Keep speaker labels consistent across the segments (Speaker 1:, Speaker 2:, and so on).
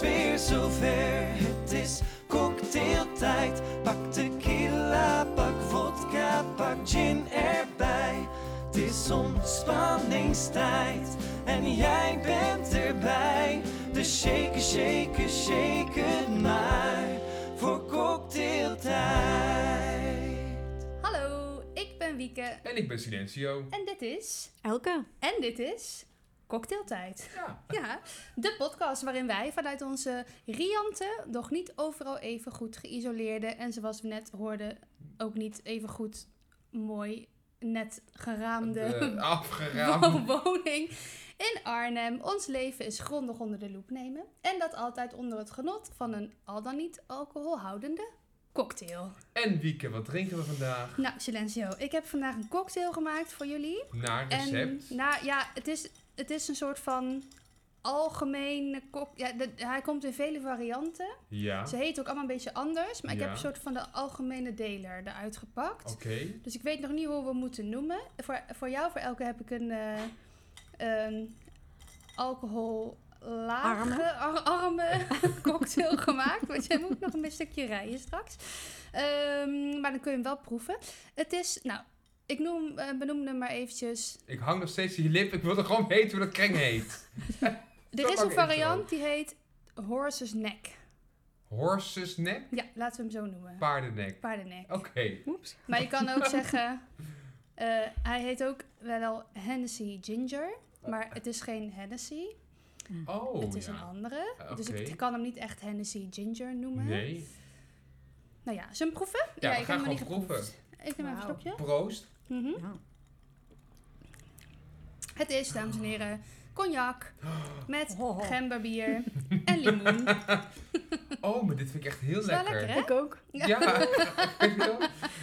Speaker 1: weer zover. Het is cocktailtijd. Pak tequila, pak vodka, pak gin erbij. Het is ontspanningstijd en jij bent erbij. Dus shake, shake, shake het maar voor cocktailtijd.
Speaker 2: Hallo, ik ben Wieke
Speaker 3: En ik ben Silencio.
Speaker 2: en dit is...
Speaker 4: Elke.
Speaker 2: En dit is... Cocktailtijd.
Speaker 3: Ja.
Speaker 2: Ja, de podcast waarin wij vanuit onze riante, nog niet overal even goed geïsoleerde en zoals we net hoorden, ook niet even goed mooi net geraamde
Speaker 3: De eh, afgeraamd.
Speaker 2: woning in Arnhem ons leven is grondig onder de loep nemen. En dat altijd onder het genot van een al dan niet alcoholhoudende cocktail.
Speaker 3: En Wieke, wat drinken we vandaag?
Speaker 2: Nou, Silencio, ik heb vandaag een cocktail gemaakt voor jullie.
Speaker 3: Naar
Speaker 2: En,
Speaker 3: recept.
Speaker 2: nou ja, het is, het is een soort van algemene kok. Ja, de- hij komt in vele varianten.
Speaker 3: Ja.
Speaker 2: Ze heet ook allemaal een beetje anders. Maar ik heb
Speaker 3: Ja. Oh.
Speaker 2: een soort van de algemene deler eruit gepakt.
Speaker 3: Oké.
Speaker 2: Dus ik weet nog niet hoe we moeten noemen. Voor, voor jou, voor elke heb ik een, eh, een alcohol lage,
Speaker 4: Arme.
Speaker 2: ar- arme cocktail gemaakt. Want jij moet nog een stukje rijden straks. Ehm, maar dan kun je hem wel proeven. Het is, nou, ik noem, eh, benoem hem maar eventjes.
Speaker 3: Ik hang nog steeds die lip. Ik wil er gewoon weten hoe dat kreng heet.
Speaker 2: Er is
Speaker 3: lang
Speaker 2: een
Speaker 3: is
Speaker 2: variant die heet Horse's Neck.
Speaker 3: Horses neck,
Speaker 2: Ja, laten we hem zo noemen.
Speaker 3: paardennek.
Speaker 2: Paardennek.
Speaker 3: Oké.
Speaker 4: Oeps.
Speaker 2: Maar je kan ook zeggen, eh, hij heet ook wel Hennessy Ginger. Maar het is geen Hennessy.
Speaker 3: Oh,
Speaker 2: het is
Speaker 3: ja.
Speaker 2: een andere.
Speaker 3: Eh,
Speaker 2: Dus
Speaker 3: oké.
Speaker 2: ik kan hem niet echt Hennessy Ginger noemen.
Speaker 3: Nee.
Speaker 2: Nou ja, zullen we hem proeven?
Speaker 3: Ja, we
Speaker 2: ik
Speaker 3: gaan
Speaker 2: hem nog
Speaker 3: gewoon proeven.
Speaker 2: geproefd. Ik neem even een
Speaker 4: Wauw.
Speaker 2: slokje.
Speaker 3: Proost.
Speaker 2: Mhm.
Speaker 4: Nou,
Speaker 2: Het is, dames en heren, cognac met
Speaker 4: Ho, ho.
Speaker 2: gemberbier en limoen.
Speaker 3: Oh, maar dit vind ik echt heel
Speaker 2: Is wel lekker, hè?
Speaker 4: ik ook.
Speaker 3: Ja.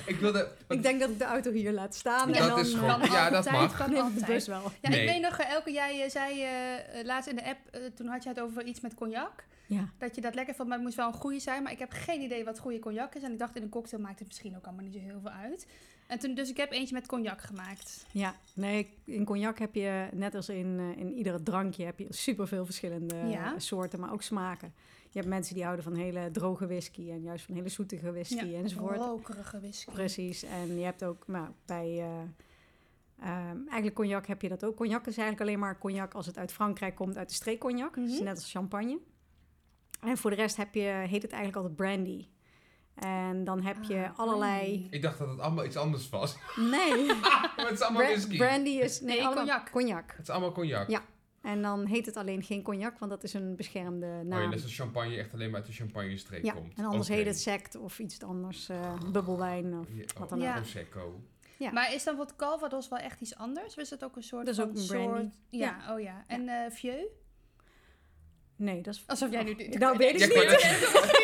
Speaker 3: ik wilde...
Speaker 4: Ik denk dat ik de auto hier laat staan.
Speaker 3: Dat
Speaker 4: en dan,
Speaker 3: is
Speaker 4: eh,
Speaker 3: gewoon- Ja, dat
Speaker 2: altijd,
Speaker 3: mag.
Speaker 2: Kan
Speaker 4: neem ik de
Speaker 2: altijd.
Speaker 4: bus wel.
Speaker 2: Ja,
Speaker 3: Nee.
Speaker 2: ik weet nog, eh, Elke, jij eh, zei eh, eh, laatst in de app, eh, toen had je het over iets met cognac.
Speaker 4: Ja.
Speaker 2: Dat je dat lekker vond, maar het moest wel een goede zijn. Maar ik heb geen idee wat goede cognac is. En ik dacht, in een cocktail maakt het misschien ook allemaal niet zo heel veel uit. En toen, dus ik heb eentje met cognac gemaakt.
Speaker 4: ja, nee, in cognac heb je, net als in, eh, in iedere drankje, heb je superveel verschillende
Speaker 2: Ja.
Speaker 4: eh, soorten, maar ook smaken. Je hebt mensen die houden van hele droge whisky en juist van hele zoetige whisky enzovoort.
Speaker 2: Rokerige whisky.
Speaker 4: Precies, en je hebt ook nou, bij... eh, ehm, eigenlijk cognac heb je dat ook. Cognac is eigenlijk alleen maar cognac als het uit Frankrijk komt, uit de streek cognac. Dus
Speaker 2: Mhm.
Speaker 4: net als champagne. En voor de rest heb je, heet het eigenlijk altijd brandy. En dan heb je
Speaker 2: Ah,
Speaker 4: allerlei...
Speaker 3: Ik dacht dat het allemaal iets anders was.
Speaker 4: Nee,
Speaker 3: maar het is allemaal
Speaker 4: Bra-
Speaker 3: whisky.
Speaker 4: brandy is... Nee,
Speaker 2: Nee,
Speaker 4: allemaal-
Speaker 2: cognac.
Speaker 4: Cognac.
Speaker 3: Het is allemaal cognac. Oh,
Speaker 4: Ja, En dan heet het alleen geen cognac, want dat is een beschermde
Speaker 3: Oh ja,
Speaker 2: nou.
Speaker 4: naam.
Speaker 3: net als champagne echt alleen maar uit de champagne-streek
Speaker 4: Ja,
Speaker 3: komt.
Speaker 4: en anders
Speaker 3: Oké.
Speaker 4: heet het sect of iets anders. eh, bubbelwijn of...
Speaker 3: Ja,
Speaker 4: wat
Speaker 3: oh,
Speaker 4: dan
Speaker 2: ook. Ja.
Speaker 3: Prosecco.
Speaker 4: Ja.
Speaker 2: Maar is dan wat Calvados wel echt iets anders? Of is dat ook een soort
Speaker 4: Dat is
Speaker 2: van
Speaker 4: ook een brandy.
Speaker 2: soort... Ja, oh ja. En eh vieux?
Speaker 4: Nee, dat is...
Speaker 2: Alsof jij nu... dit-
Speaker 4: Nou, weet ik
Speaker 3: Ja,
Speaker 4: niet.
Speaker 3: ik wou net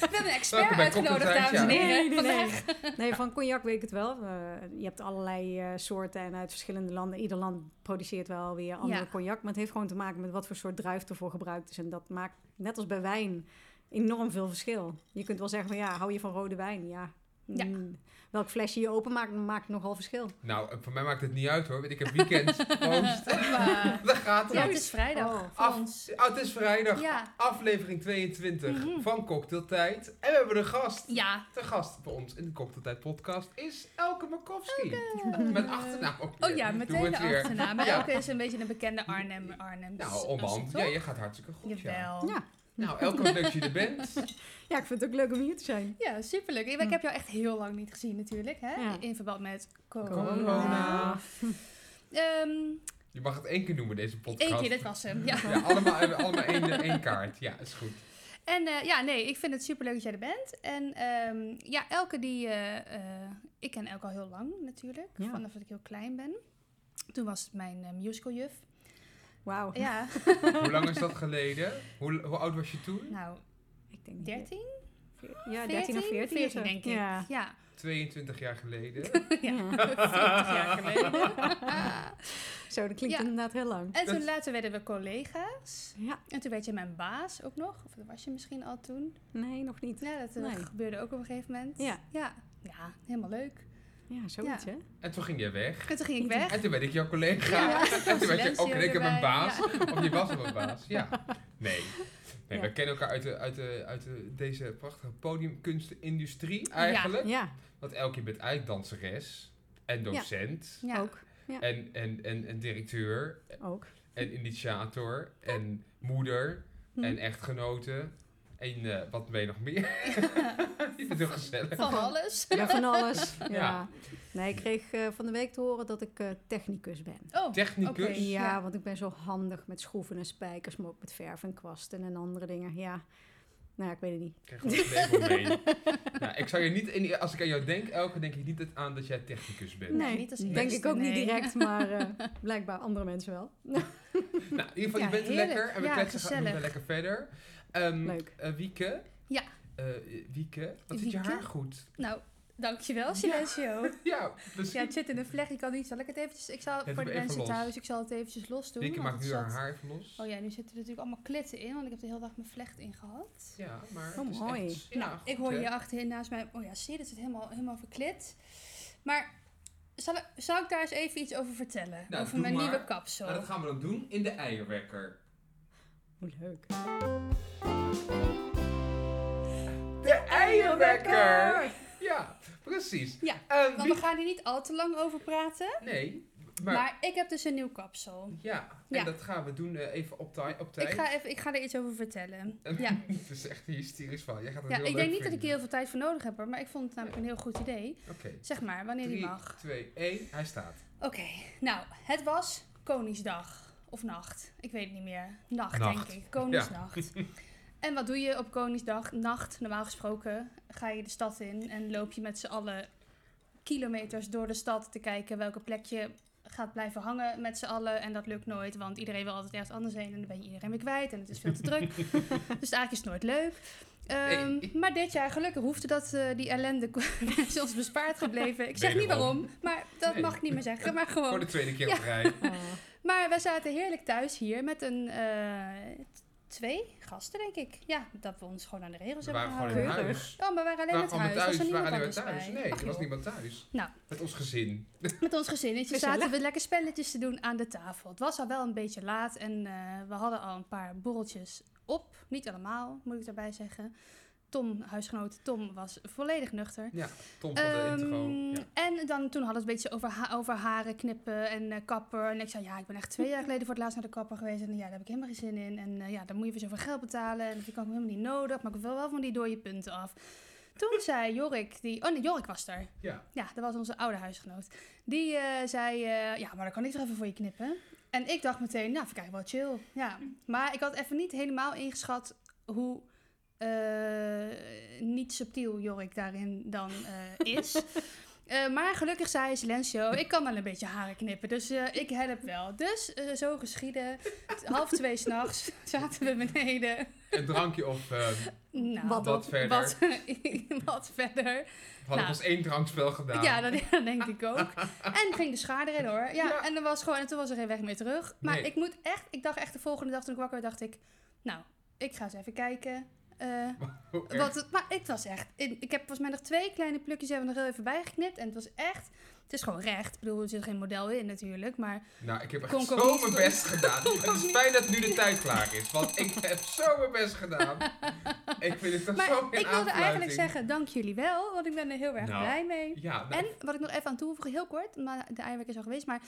Speaker 2: We hebben een
Speaker 3: Welkom
Speaker 2: expert
Speaker 3: bij
Speaker 2: uitgenodigd,
Speaker 3: Cocktail Tijd,
Speaker 2: dames en
Speaker 3: ja.
Speaker 2: heren.
Speaker 4: Nee, nee,
Speaker 2: Vandaag.
Speaker 4: nee. Nee, van cognac weet ik het wel. Eh, je hebt allerlei eh, soorten en uit verschillende landen. Ieder land produceert wel weer andere
Speaker 2: Ja.
Speaker 4: cognac. Maar het heeft gewoon te maken met wat voor soort druif ervoor gebruikt is. En dat maakt, net als bij wijn, enorm veel verschil. Je kunt wel zeggen van ja, hou je van rode wijn? Ja.
Speaker 2: Ja.
Speaker 4: Mm, Welk flesje je openmaakt, maakt nogal verschil.
Speaker 3: Nou, eh, voor mij maakt het niet uit hoor, want ik heb weekend. Proost.
Speaker 2: Hoppa.
Speaker 3: Daar gaat
Speaker 2: Ja,
Speaker 3: het.
Speaker 2: het is vrijdag
Speaker 4: Oh.
Speaker 2: voor
Speaker 3: Af-
Speaker 2: ons.
Speaker 3: Oh, het is vrijdag.
Speaker 2: Ja. Mhm.
Speaker 3: Aflevering 22 van Cocktailtijd. En we hebben een gast.
Speaker 2: Ja.
Speaker 3: De gast bij ons in de Cocktailtijd podcast is Elke Makowski. Met achternaam ook
Speaker 2: Oh
Speaker 3: weer.
Speaker 2: ja,
Speaker 3: Doe
Speaker 2: meteen de
Speaker 3: het weer.
Speaker 2: achternaam. Maar
Speaker 3: Ja.
Speaker 2: Elke is een beetje een bekende Arnhem. Arnhem
Speaker 3: Nou, onbehand. Ja, je gaat hartstikke goed. Ja.
Speaker 2: Jawel.
Speaker 4: Ja.
Speaker 3: Nou, Elke, wat leuk dat je er bent.
Speaker 4: ja, ik vind het ook leuk om hier te zijn.
Speaker 2: Ja, superleuk. Ik, ik heb jou echt heel lang niet gezien natuurlijk, hè?
Speaker 4: Hm. Ja.
Speaker 2: In verband met corona.
Speaker 3: Corona.
Speaker 2: Ehm,
Speaker 3: Je mag het één keer noemen, deze podcast.
Speaker 2: Eén keer, dit was hem. Ja.
Speaker 3: Ja, allemaal, eh, allemaal één, één kaart. Ja, is goed.
Speaker 2: En eh, ja, nee, ik vind het superleuk dat jij er bent. En ehm, ja, Elke die... eh, eh, ik ken Elke al heel lang natuurlijk,
Speaker 4: Ja.
Speaker 2: vanaf dat ik heel klein ben. Toen was het mijn eh, musicaljuff.
Speaker 4: Wauw.
Speaker 2: Ja,
Speaker 3: Hoe lang is dat geleden? Hoe, hoe oud was je toen?
Speaker 2: nou,
Speaker 4: Ik denk
Speaker 2: 13?
Speaker 4: Ja, 13 of 14. of zo.
Speaker 2: denk ik.
Speaker 4: Ja.
Speaker 2: ja.
Speaker 3: 22 jaar geleden.
Speaker 2: Ja, 40 jaar geleden.
Speaker 4: Zo, dat klinkt
Speaker 2: Ja.
Speaker 4: inderdaad heel lang.
Speaker 2: En toen
Speaker 3: Dat-
Speaker 2: later werden we collega's.
Speaker 4: Ja,
Speaker 2: En toen werd je mijn baas ook nog. Of dat was je misschien al toen.
Speaker 4: nee, nog niet.
Speaker 2: Ja, dat eh,
Speaker 4: Nee.
Speaker 2: gebeurde ook op een gegeven moment.
Speaker 4: Ja.
Speaker 2: Ja, ja helemaal leuk.
Speaker 4: Ja, zoiets
Speaker 2: Ja.
Speaker 4: hè.
Speaker 3: En toen ging jij weg.
Speaker 2: En toen ging ik weg.
Speaker 3: En toen werd ik jouw collega.
Speaker 2: Ja.
Speaker 3: En toen werd je
Speaker 2: Silencio
Speaker 3: ook in één keer mijn
Speaker 2: erbij.
Speaker 3: baas. Of je was al mijn baas. Ja. Nee. Nee,
Speaker 4: Ja.
Speaker 3: wij kennen elkaar uit, de, uit, de, uit de, deze prachtige podiumkunstenindustrie eigenlijk.
Speaker 4: Ja,
Speaker 3: Want Elke, je bent eigenlijk danseres en docent
Speaker 2: Ja.
Speaker 4: ook. Ja.
Speaker 3: En, en, en, en directeur
Speaker 4: ook.
Speaker 3: en initiator en moeder
Speaker 4: Hm.
Speaker 3: en echtgenote. En eh, wat ben je nog meer? je bent heel gezellig.
Speaker 2: Van alles.
Speaker 4: Ja, van alles. Ja.
Speaker 3: Ja.
Speaker 4: Nee, ik kreeg eh, van de week te horen dat ik eh, technicus ben.
Speaker 2: Oh,
Speaker 3: Technicus.
Speaker 2: oké.
Speaker 4: Ja,
Speaker 2: Ja.
Speaker 4: want ik ben zo handig met schroeven en spijkers, maar ook met verf en kwasten en andere dingen. Ja, nou ja, ik weet het niet.
Speaker 3: Ik krijg gewoon het leven mee. Ja, Nou, ik zou je niet, in- als ik aan jou denk, Elke, denk ik niet dat- aan dat jij technicus bent.
Speaker 2: Nee, niet als
Speaker 4: denk
Speaker 2: eerste,
Speaker 4: ik ook niet
Speaker 2: nee.
Speaker 4: direct, maar eh, blijkbaar andere mensen wel.
Speaker 3: Nou, in ieder geval,
Speaker 2: Ja,
Speaker 3: je bent er
Speaker 2: heerlijk.
Speaker 3: lekker en we
Speaker 2: Ja,
Speaker 3: kletsen gaan
Speaker 2: gezellig.
Speaker 3: doen we lekker verder. Ehm,
Speaker 4: Leuk.
Speaker 3: eh, Wieke?
Speaker 2: Ja.
Speaker 3: Eh, Wieke, wat zit je
Speaker 2: Wieke?
Speaker 3: haar goed?
Speaker 2: Nou, dankjewel Silencio.
Speaker 3: Ja, dus
Speaker 2: Ja, het zit in een vlecht, ik kan niet. Zal ik het eventjes... Ik zal
Speaker 3: doe
Speaker 2: voor de
Speaker 3: even
Speaker 2: mensen
Speaker 3: los.
Speaker 2: thuis, ik zal het eventjes los doen.
Speaker 3: Wieke
Speaker 2: want
Speaker 3: maakt
Speaker 2: het
Speaker 3: nu haar
Speaker 2: zat-
Speaker 3: haar even los.
Speaker 2: Oh ja, nu zitten er natuurlijk allemaal klitten in, want ik heb de hele dag mijn vlecht in gehad.
Speaker 3: Ja, maar
Speaker 4: Oh,
Speaker 3: het is
Speaker 4: mooi.
Speaker 3: echt- ja,
Speaker 2: nou,
Speaker 3: goed,
Speaker 2: ik hoor
Speaker 3: hè?
Speaker 2: hier achterin naast mij... Oh ja, zie je, dat zit helemaal, helemaal verklit. Maar zal ik, zal ik daar eens even iets over vertellen?
Speaker 3: Nou,
Speaker 2: over
Speaker 3: doe
Speaker 2: mijn
Speaker 3: maar.
Speaker 2: nieuwe kapsel.
Speaker 3: Nou, dat gaan we dan doen in de eierwekker.
Speaker 4: Hoe leuk.
Speaker 3: De eierwekker! Ja, precies.
Speaker 2: Ja,
Speaker 3: Ehm,
Speaker 2: Want we
Speaker 3: Wieke-
Speaker 2: gaan hier niet al te lang over praten.
Speaker 3: Nee,
Speaker 2: Maar,
Speaker 3: maar...
Speaker 2: ik heb dus een nieuw kapsel.
Speaker 3: ja, en
Speaker 2: Ja.
Speaker 3: dat gaan we doen eh, even op, tij- op tijd.
Speaker 2: Ik ga, even, ik ga er iets over vertellen.
Speaker 3: En-
Speaker 2: Ja.
Speaker 3: het is echt een hysterisch van. Jij gaat Oh, het
Speaker 2: Ja,
Speaker 3: heel
Speaker 2: ik
Speaker 3: leuk
Speaker 2: denk niet dat ik
Speaker 3: vinden.
Speaker 2: hier heel veel tijd voor nodig heb, hoor, maar ik vond het namelijk een heel goed idee.
Speaker 3: Oké,
Speaker 2: Zeg maar, wanneer die
Speaker 3: 3,
Speaker 2: mag.
Speaker 3: 2, 1, hij staat.
Speaker 2: Oké, nou, het was Koningsdag. Of nacht. Ik weet het niet meer. Nacht,
Speaker 3: Nacht.
Speaker 2: denk ik. Koningsnacht. en wat doe je op Koningsdag? Nacht, normaal gesproken, ga je de stad in en loop je met z'n allen kilometers door de stad te kijken welke plek je gaat blijven hangen met z'n allen. En dat lukt nooit, want iedereen wil altijd ergens anders heen en dan ben je iedereen weer kwijt en het is veel te druk. dus eigenlijk is het nooit leuk. Ehm,
Speaker 3: Nee.
Speaker 2: Maar dit jaar gelukkig hoefde dat, eh, die ellende is ons bespaard gebleven. Ik zeg niet
Speaker 3: Wederom.
Speaker 2: waarom, maar dat
Speaker 3: Nee.
Speaker 2: mag ik niet meer zeggen. Maar
Speaker 3: Voor
Speaker 2: gewoon
Speaker 3: de tweede keer
Speaker 2: Ja.
Speaker 3: op rij.
Speaker 4: Oh,
Speaker 2: maar we zaten heerlijk thuis hier met een eh, t- twee gasten, denk ik. Ja, dat we ons gewoon aan de regels
Speaker 3: We
Speaker 2: hebben
Speaker 3: waren gewoon
Speaker 2: gehouden.
Speaker 3: in
Speaker 4: Keurig.
Speaker 3: huis.
Speaker 2: Oh, maar we waren
Speaker 3: We
Speaker 2: alleen
Speaker 3: waren
Speaker 2: met
Speaker 3: gewoon
Speaker 2: huis. Was er
Speaker 3: we
Speaker 2: niemand
Speaker 3: waren
Speaker 2: anders
Speaker 3: niet meer thuis.
Speaker 2: bij?
Speaker 3: Nee,
Speaker 2: Ach,
Speaker 3: er was
Speaker 2: joh.
Speaker 3: niemand thuis.
Speaker 2: Nou.
Speaker 3: Met ons gezin.
Speaker 2: Met ons gezinnetje
Speaker 4: Gezellig.
Speaker 2: zaten we lekker spelletjes te doen aan de tafel. Het was al wel een beetje laat en eh, we hadden al een paar borreltjes op. Niet allemaal, moet ik daarbij zeggen. Tom, huisgenoot Tom, was volledig nuchter.
Speaker 3: Ja, Tom van de intro.
Speaker 2: Ehm,
Speaker 3: Ja.
Speaker 2: En dan, toen hadden we het een beetje over, ha- over haren knippen en eh, kapper. En ik zei, ja, ik ben echt twee jaar geleden voor het laatst naar de kapper geweest. En ja, daar heb ik helemaal geen zin in. En eh, ja, dan moet je weer zoveel geld betalen. En dat kan ik helemaal niet nodig. Maar ik wil wel van die dode punten af. Toen zei Jorik, die... Oh nee, Jorik was er.
Speaker 3: ja.
Speaker 2: Ja, dat was onze oude huisgenoot. Die eh, zei, eh, ja, maar dan kan ik toch even voor je knippen. En ik dacht meteen, nou, vind ik eigenlijk wel chill. Ja. Maar ik had even niet helemaal ingeschat hoe eh, niet subtiel Jorik daarin dan eh, is. Eh, maar gelukkig zei Silencio, ik kan wel een beetje haren knippen, dus eh, ik help wel. Dus eh, zo geschiedde, T- half twee s'nachts zaten we beneden.
Speaker 3: Een drankje of ehm,
Speaker 2: Nou,
Speaker 4: Wat
Speaker 3: Wat verder.
Speaker 2: Wat, wat verder.
Speaker 3: we hadden ons één drankspel gedaan.
Speaker 2: Ja, dat, dat denk ik ook. En ging de schaar erin hoor. Ja,
Speaker 3: Ja.
Speaker 2: En, dan was gewoon, en toen was er geen weg meer terug. Maar
Speaker 3: Nee.
Speaker 2: ik moet echt, ik dacht echt de volgende dag toen ik wakker werd, dacht ik, nou, ik ga eens even kijken. eh,
Speaker 3: Hoe erg.
Speaker 2: wat het, maar ik was echt, ik, ik heb volgens mij nog twee kleine plukjes hebben we er heel even bijgeknipt. En het was echt, het is gewoon recht. Ik bedoel, er zit geen model in natuurlijk, maar
Speaker 3: Nou, ik heb echt
Speaker 2: Kon ik ook
Speaker 3: zo
Speaker 2: niet
Speaker 3: mijn
Speaker 2: doen.
Speaker 3: best gedaan. Het is fijn dat nu de tijd klaar is, want ik heb zo mijn best gedaan. Ik vind het toch
Speaker 2: Maar
Speaker 3: zo
Speaker 2: ik
Speaker 3: een
Speaker 2: wilde eigenlijk
Speaker 3: aanfluiting.
Speaker 2: zeggen, dank jullie wel, want ik ben er heel erg
Speaker 3: Nou,
Speaker 2: blij mee.
Speaker 3: Ja, nou,
Speaker 2: En wat ik nog even aan toevoegen, heel kort, maar de eierwerk is al geweest, maar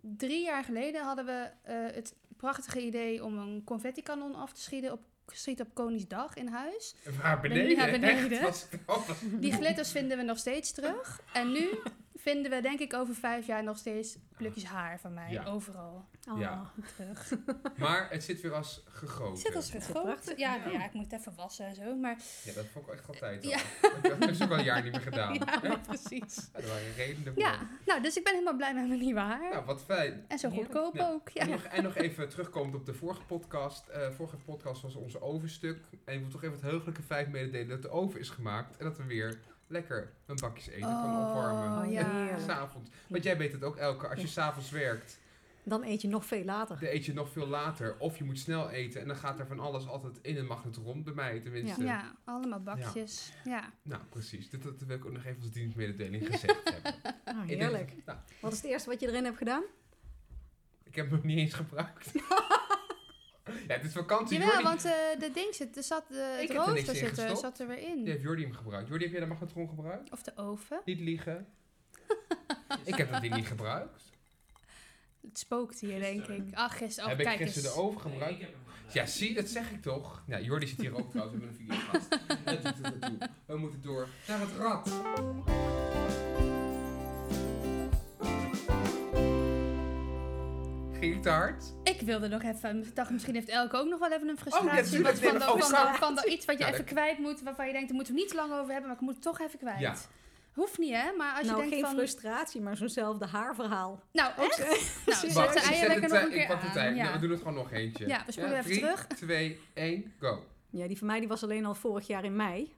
Speaker 2: drie jaar geleden hadden we eh, het prachtige idee om een confettikanon af te schieten op, schieten op Koningsdag in huis.
Speaker 3: waar beneden?
Speaker 2: ja, beneden.
Speaker 3: Echt, was, oh, was-
Speaker 2: Die glitters vinden we nog steeds terug. En nu vinden we denk ik over vijf jaar nog steeds plukjes haar van mij
Speaker 3: Ja.
Speaker 2: overal
Speaker 4: oh.
Speaker 3: Ja.
Speaker 2: terug.
Speaker 3: maar het zit weer als gegoten.
Speaker 2: Zit als
Speaker 4: prachtig.
Speaker 2: vergroot. Ja, nou ja, ik moet het even wassen en zo, maar
Speaker 3: Ja, dat vond ik echt altijd al.
Speaker 2: Ja.
Speaker 3: Dat heb ik ook al een jaar niet meer gedaan. Ja.
Speaker 2: ja, precies.
Speaker 3: Er waren redenen voor.
Speaker 2: Ja, nou, dus ik ben helemaal blij met mijn nieuwe haar.
Speaker 3: Nou, wat fijn.
Speaker 2: En zo
Speaker 4: Heerlijk.
Speaker 2: goedkoop
Speaker 3: Ja.
Speaker 2: ook. Ja.
Speaker 3: En, nog, en nog even terugkomend op de vorige podcast. Eh, vorige podcast was onze ovenstuk. En ik wil toch even het heugelijke feit mededelen dat de oven is gemaakt. En dat we weer lekker een bakjes eten kunnen opwarmen.
Speaker 2: Oh, ja.
Speaker 3: S'avonds. Want jij weet het ook, Elke. Als je s'avonds werkt,
Speaker 4: Dan eet je nog veel later.
Speaker 3: dan eet je nog veel later. Of je moet snel eten. En dan gaat er van alles altijd in een magnet rond. Bij mij tenminste.
Speaker 2: Ja, allemaal bakjes. ja.
Speaker 3: Nou, precies. Dat, dat wil ik ook nog even als dienstmededeling gezegd hebben. Ik
Speaker 4: Ah,
Speaker 3: denk-
Speaker 4: heerlijk.
Speaker 3: nou,
Speaker 4: Wat is het eerste wat je erin hebt gedaan?
Speaker 3: Ik heb hem nog niet eens gebruikt. Ja, het is vakantie.
Speaker 2: Jawel,
Speaker 3: Jordi,
Speaker 2: want eh, de ding zit, er zat, eh
Speaker 3: Ik
Speaker 2: het
Speaker 3: heb er niks
Speaker 2: rooster
Speaker 3: in
Speaker 2: zit er,
Speaker 3: gestopt.
Speaker 2: zat er weer in.
Speaker 3: die heeft Jordi hem gebruikt. Jordi, heb jij de magnetron gebruikt?
Speaker 2: Of de oven.
Speaker 3: Niet liegen. ik heb dat ding niet gebruikt.
Speaker 2: Het spookt hier, denk
Speaker 5: Gisteren.
Speaker 2: ik. Ach, gisteren. Oh,
Speaker 3: heb ik
Speaker 2: kijk
Speaker 3: gisteren
Speaker 2: eens.
Speaker 3: de oven
Speaker 5: Nee,
Speaker 3: gebruikt?
Speaker 5: ik heb hem gebruikt.
Speaker 3: Ja, zie, dat zeg ik toch. Nou, Jordi zit hier ook trouwens, we hebben een videogast. Dat doet het ertoe. We moeten door naar het rad. Ging het te hard?
Speaker 2: Ik wilde nog even, ik dacht misschien heeft Elke ook nog wel even een frustratie
Speaker 3: Oh, natuurlijk,
Speaker 2: wat van,
Speaker 3: nee,
Speaker 2: de-
Speaker 3: dat- oh,
Speaker 2: van,
Speaker 3: sorry.
Speaker 2: de- van de- iets wat je
Speaker 3: Ja,
Speaker 2: even
Speaker 3: dat-
Speaker 2: kwijt moet, waarvan je denkt, daar moeten we niet lang over hebben, maar ik moet het toch even kwijt.
Speaker 3: Ja.
Speaker 2: Hoeft niet, hè? Maar als je
Speaker 4: nou,
Speaker 2: denkt
Speaker 4: geen
Speaker 2: van...
Speaker 4: frustratie, maar zo'nzelfde haarverhaal.
Speaker 2: Nou,
Speaker 4: Ook
Speaker 2: echt? Nou, zet
Speaker 4: Wacht,
Speaker 2: de
Speaker 4: ik zet
Speaker 2: eieren lekker nog
Speaker 3: eh,
Speaker 2: een keer
Speaker 3: Ik pak de
Speaker 2: aan,
Speaker 3: tijd.
Speaker 2: ja.
Speaker 3: Nou, we doen het gewoon nog eentje.
Speaker 2: Ja, we spoelen even
Speaker 3: drie,
Speaker 2: terug.
Speaker 3: 2, 1, go.
Speaker 4: Ja, die van mij die was alleen al vorig jaar in mei.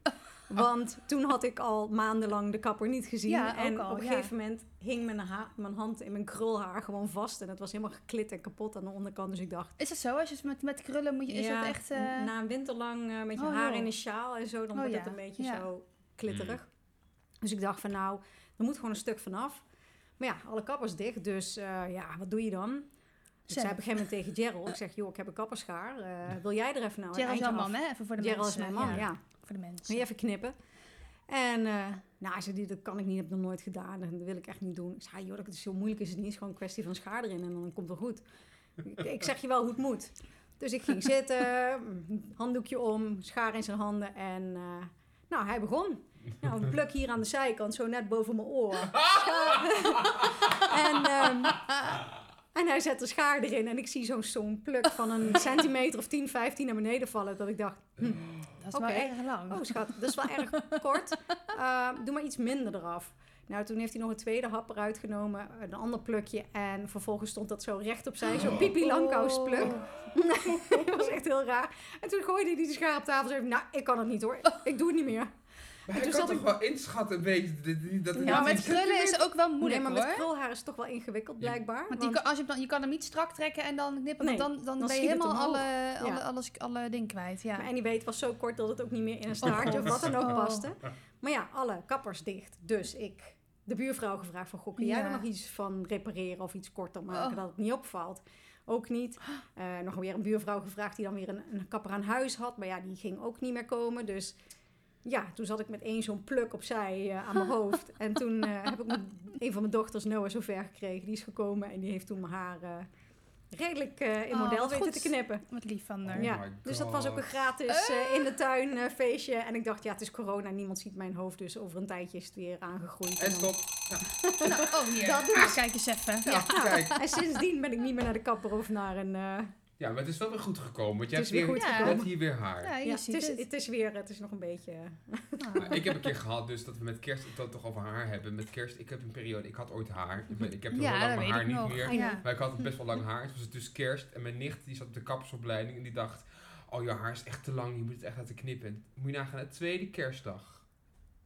Speaker 4: Want toen had ik al maandenlang de kapper niet gezien.
Speaker 2: Ja, ook
Speaker 4: en
Speaker 2: al,
Speaker 4: op een
Speaker 2: ja.
Speaker 4: gegeven moment hing mijn, ha- mijn hand in mijn krulhaar gewoon vast. En het was helemaal geklit en kapot aan de onderkant. Dus ik dacht,
Speaker 2: Is het zo? Als je het met, met krullen moet je, is
Speaker 4: ja, nou,
Speaker 2: dat echt... eh,
Speaker 4: na een winter lang eh, met je
Speaker 2: Oh,
Speaker 4: haar
Speaker 2: joh.
Speaker 4: in een sjaal en zo, dan
Speaker 2: Oh,
Speaker 4: wordt
Speaker 2: ja,
Speaker 4: het een beetje
Speaker 2: ja.
Speaker 4: zo klitterig. Dus ik dacht van nou, er moet gewoon een stuk vanaf. Maar ja, alle kappers dicht, dus eh, ja, wat doe je dan? Dus ik zei
Speaker 2: Zeg.
Speaker 4: op een gegeven moment tegen Gerald, ik zeg joh, ik heb een kapperschaar. Eh, wil jij er even nou
Speaker 2: Gerald is jouw
Speaker 4: een
Speaker 2: man,
Speaker 4: eindje af?
Speaker 2: hè? Even voor de
Speaker 4: Gerald is
Speaker 2: mensen.
Speaker 4: mijn man,
Speaker 2: Ja,
Speaker 4: ja.
Speaker 2: Voor de mensen.
Speaker 4: Moet je even knippen? En eh, nou, ze die, dat kan ik niet, heb ik nog nooit gedaan. En dat wil ik echt niet doen. Ik zei, joh, dat is zo moeilijk is het niet. Het is gewoon een kwestie van schaar erin en dan komt het goed. ik, ik zeg je wel hoe het moet. Dus ik ging zitten, handdoekje om, schaar in zijn handen. En eh, nou, hij begon. Nou, een pluk hier aan de zijkant, zo net boven mijn oor. Schaar. en, ehm, en hij zet de schaar erin. En ik zie zo'n zo'n pluk van een centimeter of 10, 15 naar beneden vallen. Dat ik dacht,
Speaker 2: Dat is
Speaker 4: Oké.
Speaker 2: wel erg lang.
Speaker 4: Oh, schat, dat is wel erg kort. Eh, doe maar iets minder eraf. Nou, toen heeft hij nog een tweede hap eruit genomen, een ander plukje. En vervolgens stond dat zo recht opzij,
Speaker 2: Oh.
Speaker 4: zo'n Pipi Langkous pluk. dat was echt heel raar. En toen gooide hij die schaar op tafel en zei, nou, ik kan het niet hoor. Ik doe het niet meer.
Speaker 3: Maar hij
Speaker 4: toen
Speaker 3: kan
Speaker 4: zat
Speaker 3: toch
Speaker 4: ik-
Speaker 3: wel inschatten, weet je, dat het
Speaker 2: Ja,
Speaker 3: niet
Speaker 2: maar met
Speaker 3: iets-
Speaker 2: krullen is ook wel moeilijk,
Speaker 4: nee, maar
Speaker 2: hoor.
Speaker 4: met krulhaar is het toch wel ingewikkeld, blijkbaar.
Speaker 2: Want
Speaker 4: Want
Speaker 2: die kan, als je, hem dan, je kan hem niet strak trekken en dan knippen, want
Speaker 4: Nee,
Speaker 2: dan, dan, ben
Speaker 4: dan
Speaker 2: je
Speaker 4: schiet het
Speaker 2: helemaal alle,
Speaker 4: omhoog.
Speaker 2: alle,
Speaker 4: Ja.
Speaker 2: alles, alle ding kwijt. Ja.
Speaker 4: Maar anyway, het was zo kort dat het ook niet meer in een staartje of wat dan ook
Speaker 2: Oh.
Speaker 4: paste. Maar ja, alle kappers dicht. Dus ik de buurvrouw gevraagd van, goh, kun jij
Speaker 2: Ja.
Speaker 4: er nog iets van repareren of iets korter maken
Speaker 2: Oh.
Speaker 4: dat het niet opvalt? Ook niet. Eh, nog weer een buurvrouw gevraagd die dan weer een, een kapper aan huis had. Maar ja, die ging ook niet meer komen. Dus ja, toen zat ik met één zo'n pluk opzij eh, aan mijn hoofd. En toen eh, heb ik mijn- een van mijn dochters, Noah, zover gekregen. Die is gekomen en die heeft toen mijn haar eh, redelijk eh, in
Speaker 2: Oh,
Speaker 4: model
Speaker 2: wat
Speaker 4: weten
Speaker 2: goed.
Speaker 4: te knippen.
Speaker 2: Wat lief van haar.
Speaker 3: Oh
Speaker 4: Ja,
Speaker 3: my
Speaker 4: dus dat was ook een
Speaker 3: God.
Speaker 4: gratis eh, in de tuin eh, feestje. En ik dacht, ja, het is corona, niemand ziet mijn hoofd, dus over een tijdje is het weer aangegroeid.
Speaker 3: En
Speaker 4: dan-
Speaker 3: stop.
Speaker 2: Nou, oh, hier.
Speaker 4: Dat
Speaker 2: Ah, kijk eens even.
Speaker 3: Ja, kijk.
Speaker 4: En sindsdien ben ik niet meer naar de kapper of naar een... eh,
Speaker 3: Ja, maar het is wel weer goed gekomen, want jij
Speaker 4: Het
Speaker 3: hebt
Speaker 4: is weer
Speaker 3: hier,
Speaker 4: goed
Speaker 2: Ja.
Speaker 3: je
Speaker 4: gekomen.
Speaker 3: hebt hier weer haar.
Speaker 2: Ja, je
Speaker 4: ja, het,
Speaker 2: ziet
Speaker 4: is,
Speaker 2: het.
Speaker 4: het is weer, het is nog een beetje... eh,
Speaker 2: Ah.
Speaker 3: Maar ik heb een keer gehad, dus dat we met kerst het toch over haar hebben. Met kerst, ik heb een periode, ik had ooit haar. Ik, ben- ik heb heel
Speaker 2: Ja,
Speaker 3: lang
Speaker 2: dat
Speaker 3: mijn
Speaker 2: weet
Speaker 3: haar
Speaker 2: ik
Speaker 3: niet
Speaker 2: nog.
Speaker 3: meer.
Speaker 2: Ja.
Speaker 3: Maar ik had best wel lang haar. Het was dus kerst en mijn nicht die zat op de kappersopleiding en die dacht... Oh, je haar is echt te lang, je moet het echt laten knippen. En Moet je nagaan, de tweede kerstdag.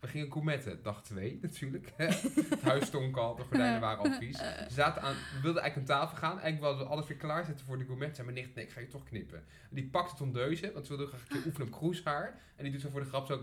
Speaker 3: We gingen gourmetten, dag twee natuurlijk. het huis stonk al, de gordijnen waren al vies. Ze zaten aan, we wilden eigenlijk aan tafel gaan. Eigenlijk wilden we alles weer klaarzetten voor de gourmet. Zei mijn nicht, nee, ik ga je toch knippen. En die pakte tondeuze, want ze wilde graag een keer oefenen op kroeshaar. En die doet zo voor de grap zo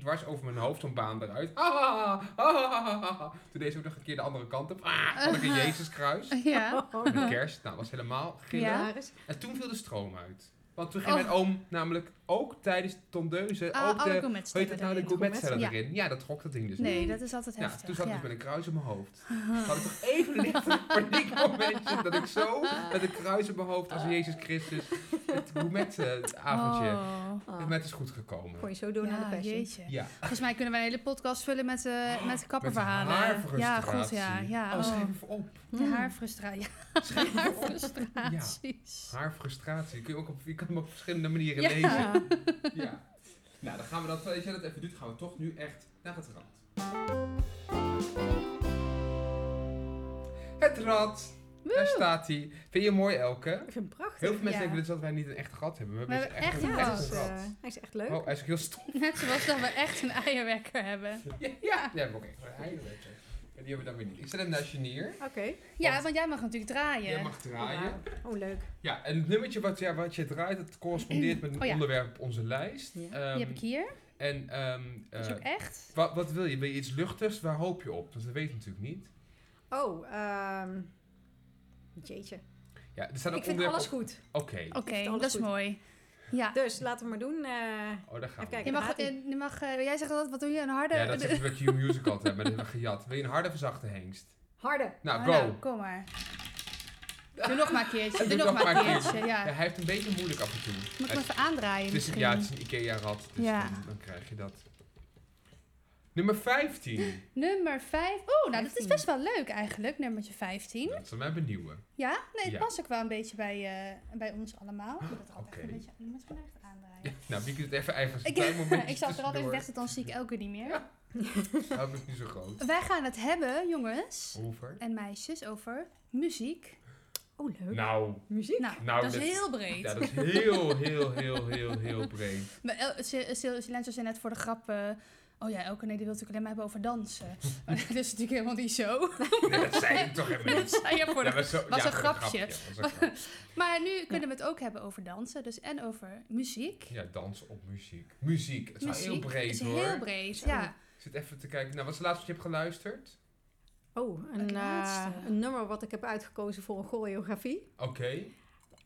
Speaker 3: dwars over mijn hoofd zo'n baan eruit. Ah, ah, ah, ah, ah. Toen deed ze ook nog een keer de andere kant op. Ah, had ik een Jezuskruis.
Speaker 4: Oh.
Speaker 2: Ja.
Speaker 3: Met kerst, nou, was helemaal gillen.
Speaker 2: Ja.
Speaker 4: Laris.
Speaker 3: En toen viel de stroom uit. Want toen ging
Speaker 2: Oh.
Speaker 3: mijn oom namelijk ook tijdens tondeuze
Speaker 2: Ah,
Speaker 3: ook
Speaker 2: alle
Speaker 3: de...
Speaker 2: gourmets
Speaker 3: Hoe heet
Speaker 2: zitten
Speaker 3: dat nou, de
Speaker 2: erin.
Speaker 3: gourmetcellen
Speaker 2: Ja.
Speaker 3: erin? Ja, dat trok dat ding dus
Speaker 2: Nee,
Speaker 3: niet.
Speaker 2: dat is altijd
Speaker 3: Ja,
Speaker 2: heftig.
Speaker 3: toen zat
Speaker 2: ja.
Speaker 3: ik met een kruis op mijn hoofd. Had ik toch even een licht paniekmomentje dat ik zo met een kruis op mijn hoofd als Jezus Christus het gourmet-avondje...
Speaker 2: Oh.
Speaker 4: Ah,
Speaker 3: Het met is goed gekomen.
Speaker 4: kon je zo door naar de
Speaker 2: Ja,
Speaker 4: passion.
Speaker 2: jeetje.
Speaker 3: Ja,
Speaker 2: Volgens mij kunnen wij een hele podcast vullen met, eh met kapperverhalen.
Speaker 3: Oh, Met haarfrustratie.
Speaker 2: ja, goed, ja. ja
Speaker 3: oh,
Speaker 2: oh.
Speaker 3: schrijf even op.
Speaker 4: Hmm.
Speaker 2: De haarfrustratie.
Speaker 3: Schrijf
Speaker 2: Ja,
Speaker 3: even op.
Speaker 2: haarfrustraties.
Speaker 3: Haarfrustratie. Kun je, ook op, je kan hem op verschillende manieren
Speaker 2: Ja.
Speaker 3: lezen. Ja. Nou, dan gaan we dat, als jij dat even doet, gaan we toch nu echt naar het rad. Het rad. Daar staat hij. Vind je hem mooi, Elke?
Speaker 4: Ik vind hem prachtig.
Speaker 3: Heel veel mensen
Speaker 2: Ja.
Speaker 3: denken dus dat wij niet een echt gat hebben. We hebben,
Speaker 2: We
Speaker 3: dus
Speaker 2: hebben echt
Speaker 3: echt een
Speaker 2: een
Speaker 3: echt
Speaker 4: Dus,
Speaker 3: een
Speaker 4: eh,
Speaker 3: rat.
Speaker 4: hij is echt leuk.
Speaker 3: Oh, hij is ook heel stom.
Speaker 2: Net zoals dat we echt een eierwekker hebben.
Speaker 3: Ja, ja. we hebben ook echt een eierwekker. Maar die hebben we dan weer niet. Ik zet hem naar Genier.
Speaker 4: Oké.
Speaker 2: Ja,
Speaker 3: Want-
Speaker 2: want jij mag natuurlijk draaien.
Speaker 3: Jij mag draaien.
Speaker 4: Oh, leuk.
Speaker 3: Ja, en het nummertje wat, ja, wat je draait, dat correspondeert met een
Speaker 2: Oh ja.
Speaker 3: onderwerp op onze lijst.
Speaker 4: Ja. Die
Speaker 2: Die
Speaker 3: Ehm,
Speaker 2: heb ik hier.
Speaker 3: En ehm,
Speaker 2: Dat is
Speaker 3: eh,
Speaker 2: ook echt.
Speaker 3: wat, wat wil je? Wil je iets luchtigs? Waar hoop je op? Want dat weet je natuurlijk niet.
Speaker 4: Oh, ehm, Oh, jeetje.
Speaker 3: Ja, er staan ook
Speaker 4: Ik vind
Speaker 3: onderwerpen
Speaker 4: alles goed.
Speaker 3: op- Oké.
Speaker 2: Oké,
Speaker 4: Heeft alles
Speaker 2: dat is
Speaker 4: goed.
Speaker 2: mooi. Ja.
Speaker 4: Dus laten we maar doen. eh,
Speaker 3: Oh, daar gaan we.
Speaker 4: Even kijken.
Speaker 2: Je mag,
Speaker 4: Raad-ie.
Speaker 2: eh, je mag, eh, jij zegt altijd, wat doe je? Een harde...
Speaker 3: Ja, dat
Speaker 2: de-
Speaker 3: is wat je musical hebben, maar dat hebben we gejat. Wil je een harde of een zachte hengst?
Speaker 4: harde.
Speaker 3: Nou,
Speaker 2: Oh,
Speaker 3: go.
Speaker 2: nou, kom maar. Doe nog maar een keertje. Doe nog maar een keertje, ja.
Speaker 3: Ja, hij heeft een beetje moeilijk af en toe.
Speaker 2: Moet ik
Speaker 3: Hij-
Speaker 2: hem even aandraaien
Speaker 3: Het is,
Speaker 2: misschien?
Speaker 3: ja, het is een Ikea-rad, dus
Speaker 2: Ja.
Speaker 3: dan, dan krijg je dat. Nummer 15.
Speaker 2: Nummer 5. Oeh, nou dat is
Speaker 4: 15.
Speaker 2: best wel leuk eigenlijk, nummertje 15.
Speaker 3: Dat zal mij benieuwen.
Speaker 2: Ja? Nee,
Speaker 3: Ja.
Speaker 2: het past ook wel een beetje bij, eh, bij ons allemaal. Ik moet het er altijd
Speaker 3: Oké.
Speaker 2: een beetje, je moet het gewoon echt aandraaien.
Speaker 3: Ja, nou, wie kunt het even eigen
Speaker 2: Ik,
Speaker 3: klein momentje
Speaker 2: ik zal het er altijd
Speaker 3: tussendoor.
Speaker 2: weg, want dan zie ik elke niet meer.
Speaker 3: Ja. Hou ik nu zo groot.
Speaker 2: Wij gaan het hebben, jongens
Speaker 3: Over.
Speaker 2: en meisjes, over muziek.
Speaker 4: Oh, leuk.
Speaker 3: Nou,
Speaker 4: Muziek.
Speaker 2: Nou,
Speaker 3: Nou,
Speaker 2: dat is
Speaker 3: dat-
Speaker 2: heel breed.
Speaker 3: ja, dat is heel, heel, heel, heel, heel breed.
Speaker 2: Maar El- Sil- Sil- Silenzo zei net voor de grap... eh, oh ja, Elke nee, die wil natuurlijk alleen maar hebben over dansen. Maar dat is natuurlijk helemaal niet zo.
Speaker 3: Nee, dat zei ik toch even
Speaker 2: Dat
Speaker 3: niet.
Speaker 2: zei je voor de
Speaker 3: Ja, maar zo-
Speaker 2: was
Speaker 3: ja,
Speaker 2: een
Speaker 3: voor
Speaker 2: grapje.
Speaker 3: ja, was een grapje.
Speaker 2: Maar nu kunnen we het ook hebben over dansen, dus en over muziek.
Speaker 3: Ja, dansen op muziek. Muziek. Het is wel
Speaker 2: muziek
Speaker 3: heel breed
Speaker 2: is
Speaker 3: hoor.
Speaker 2: heel breed,
Speaker 4: Zo.
Speaker 2: ja.
Speaker 3: Ik zit even te kijken. Nou, wat is het laatste wat je hebt geluisterd?
Speaker 4: Oh, een,
Speaker 2: Het
Speaker 4: eh,
Speaker 2: laatste.
Speaker 4: een nummer wat ik heb uitgekozen voor een choreografie.
Speaker 3: Oké.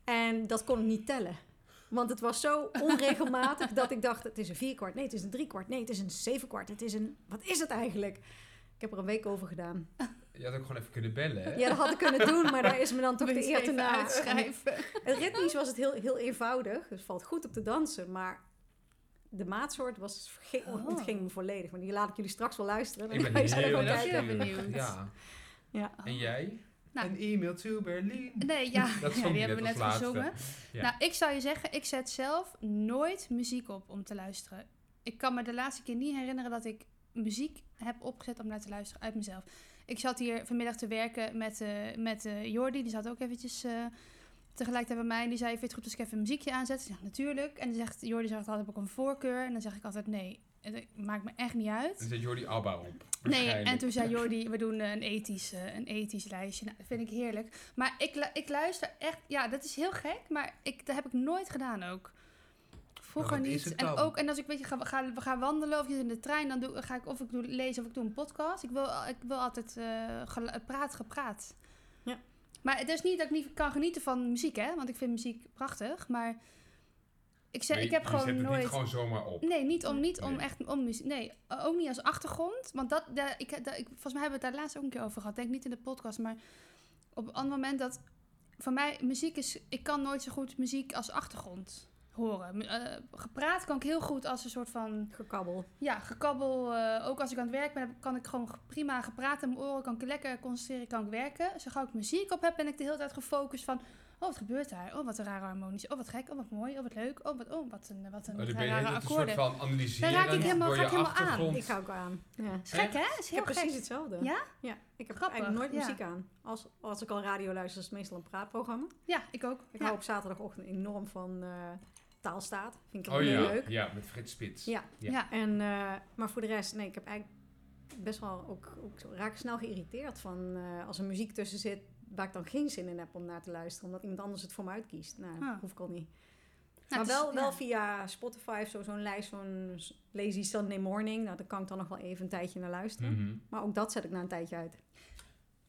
Speaker 4: En dat kon ik niet tellen. Want het was zo onregelmatig dat ik dacht... het is een vierkwart, nee, het is een driekwart, nee, het is een zevenkwart. Het is een... Wat is het eigenlijk? Ik heb er een week over gedaan.
Speaker 3: Je had ook gewoon even kunnen bellen, hè?
Speaker 4: Ja, dat had ik kunnen doen, maar daar is me dan toch
Speaker 2: Moet
Speaker 4: de
Speaker 2: je
Speaker 4: eer
Speaker 2: even
Speaker 4: te na.
Speaker 2: uitschrijven.
Speaker 4: Het ritmisch was het heel, heel eenvoudig. Dus valt goed op te dansen, maar... De maatsoort was, verge-
Speaker 2: Oh.
Speaker 4: ontging me volledig. Maar die laat ik jullie straks wel luisteren.
Speaker 3: Ik ben
Speaker 4: Dan ga je zelf
Speaker 3: heel,
Speaker 4: wel
Speaker 2: benieuwd. kijken.
Speaker 4: kijken.
Speaker 3: benieuwd. Ja.
Speaker 4: Ja.
Speaker 3: En jij?
Speaker 2: Nou.
Speaker 3: Een e-mail to Berlin.
Speaker 2: Nee, ja,
Speaker 3: Dat
Speaker 2: ja die
Speaker 3: zong je
Speaker 2: hebben we
Speaker 3: net
Speaker 2: net
Speaker 3: als laatste.
Speaker 2: gezongen.
Speaker 3: Ja.
Speaker 2: Nou, ik zou je zeggen, ik zet zelf nooit muziek op om te luisteren. Ik kan me de laatste keer niet herinneren dat ik muziek heb opgezet om naar te luisteren uit mezelf. Ik zat hier vanmiddag te werken met, eh, met eh, Jordi, die zat ook eventjes eh, tegelijkertijd bij mij. En die zei, vind je het goed als ik even een muziekje aanzet? Ik zeg, natuurlijk. En die zegt, Jordi zegt altijd, heb ik een voorkeur? En dan zeg ik altijd, nee, het maakt me echt niet uit.
Speaker 3: Dan zet Jordi Abba op.
Speaker 2: Nee,
Speaker 3: waarschijnlijk.
Speaker 2: en toen zei Jordi, we doen eh, een ethisch, eh, een ethisch lijstje. Nou, dat vind ik heerlijk. Maar ik, lu- ik luister echt, ja, dat is heel gek, maar ik, dat heb ik nooit gedaan ook. Vroeger
Speaker 3: Maar Nou, wat is
Speaker 2: niet.
Speaker 3: het
Speaker 2: En,
Speaker 3: dan?
Speaker 2: ook, en als ik weet je, ga, ga, we gaan wandelen of je zit in de trein, dan doe, ga ik of ik doe lezen of ik doe een podcast. Ik wil, al- ik wil altijd eh, gelu- praat, gepraat.
Speaker 4: Ja.
Speaker 2: Maar het is niet dat ik niet kan genieten van muziek, hè? Want ik vind muziek prachtig, maar ik, zeg,
Speaker 3: Nee,
Speaker 2: ik heb
Speaker 3: je
Speaker 2: gewoon
Speaker 3: zet het
Speaker 2: nooit...
Speaker 3: niet gewoon zomaar op.
Speaker 2: Nee, niet om, niet om
Speaker 3: Nee.
Speaker 2: echt om muziek. Nee, eh, ook niet als achtergrond. Want dat, daar, ik, daar- ik, volgens mij hebben we het daar laatst ook een keer over gehad. Denk niet in de podcast, maar op een ander moment dat... Voor mij, muziek is... Ik kan nooit zo goed muziek als achtergrond horen. Mu- eh, gepraat kan ik heel goed als een soort van...
Speaker 4: Gekabbel.
Speaker 2: Ja, gekabbel. eh, ook als ik aan het werk ben, kan ik gewoon ge- prima gepraat in mijn oren. Kan ik lekker concentreren, kan ik werken. Zo gauw ik muziek op heb, ben ik de hele tijd gefocust van... Oh, wat gebeurt daar? Oh, wat een rare harmonisch. Oh, wat gek. Oh, wat mooi. Oh, wat leuk. Oh, wat, oh, wat een, wat een
Speaker 3: Oh, dan ben je
Speaker 2: rare
Speaker 3: het een soort
Speaker 2: akkoorden.
Speaker 3: van analyseren
Speaker 2: Daar raak ik helemaal-
Speaker 3: door
Speaker 2: ga
Speaker 3: je
Speaker 2: ik helemaal aan.
Speaker 3: achtergrond.
Speaker 4: Ik ga ook aan. Ja.
Speaker 2: Is gek, hè? Is
Speaker 4: Ik
Speaker 2: heel
Speaker 4: heb
Speaker 2: gek.
Speaker 4: precies hetzelfde.
Speaker 2: Ja?
Speaker 4: Ja. Ik heb
Speaker 2: Grappig,
Speaker 4: eigenlijk nooit
Speaker 2: ja.
Speaker 4: muziek aan. Als, als ik al radio luister, is het meestal een praatprogramma.
Speaker 2: Ja, ik ook.
Speaker 4: Ik
Speaker 2: Ja.
Speaker 4: hou op zaterdagochtend enorm van eh, taalstaat. Vind ik
Speaker 3: Oh ja,
Speaker 4: heel leuk.
Speaker 3: ja, met Frits Spits.
Speaker 4: Ja.
Speaker 3: Ja.
Speaker 2: Ja.
Speaker 4: En, eh, maar voor de rest, nee, ik heb eigenlijk best wel ook, ook zo- raak ik snel geïrriteerd van eh, als er muziek tussen zit waar ik dan geen zin in heb om naar te luisteren, omdat iemand anders het voor me uitkiest. Nou, dat
Speaker 2: Ah.
Speaker 4: hoef ik al
Speaker 2: Nou,
Speaker 4: niet. maar
Speaker 2: het is-
Speaker 4: wel, wel
Speaker 2: ja.
Speaker 4: via Spotify of zo, zo'n lijst, zo'n lazy Sunday morning. Nou, daar kan ik dan nog wel even een tijdje naar luisteren.
Speaker 3: Mhm.
Speaker 4: Maar ook dat zet ik na een tijdje uit.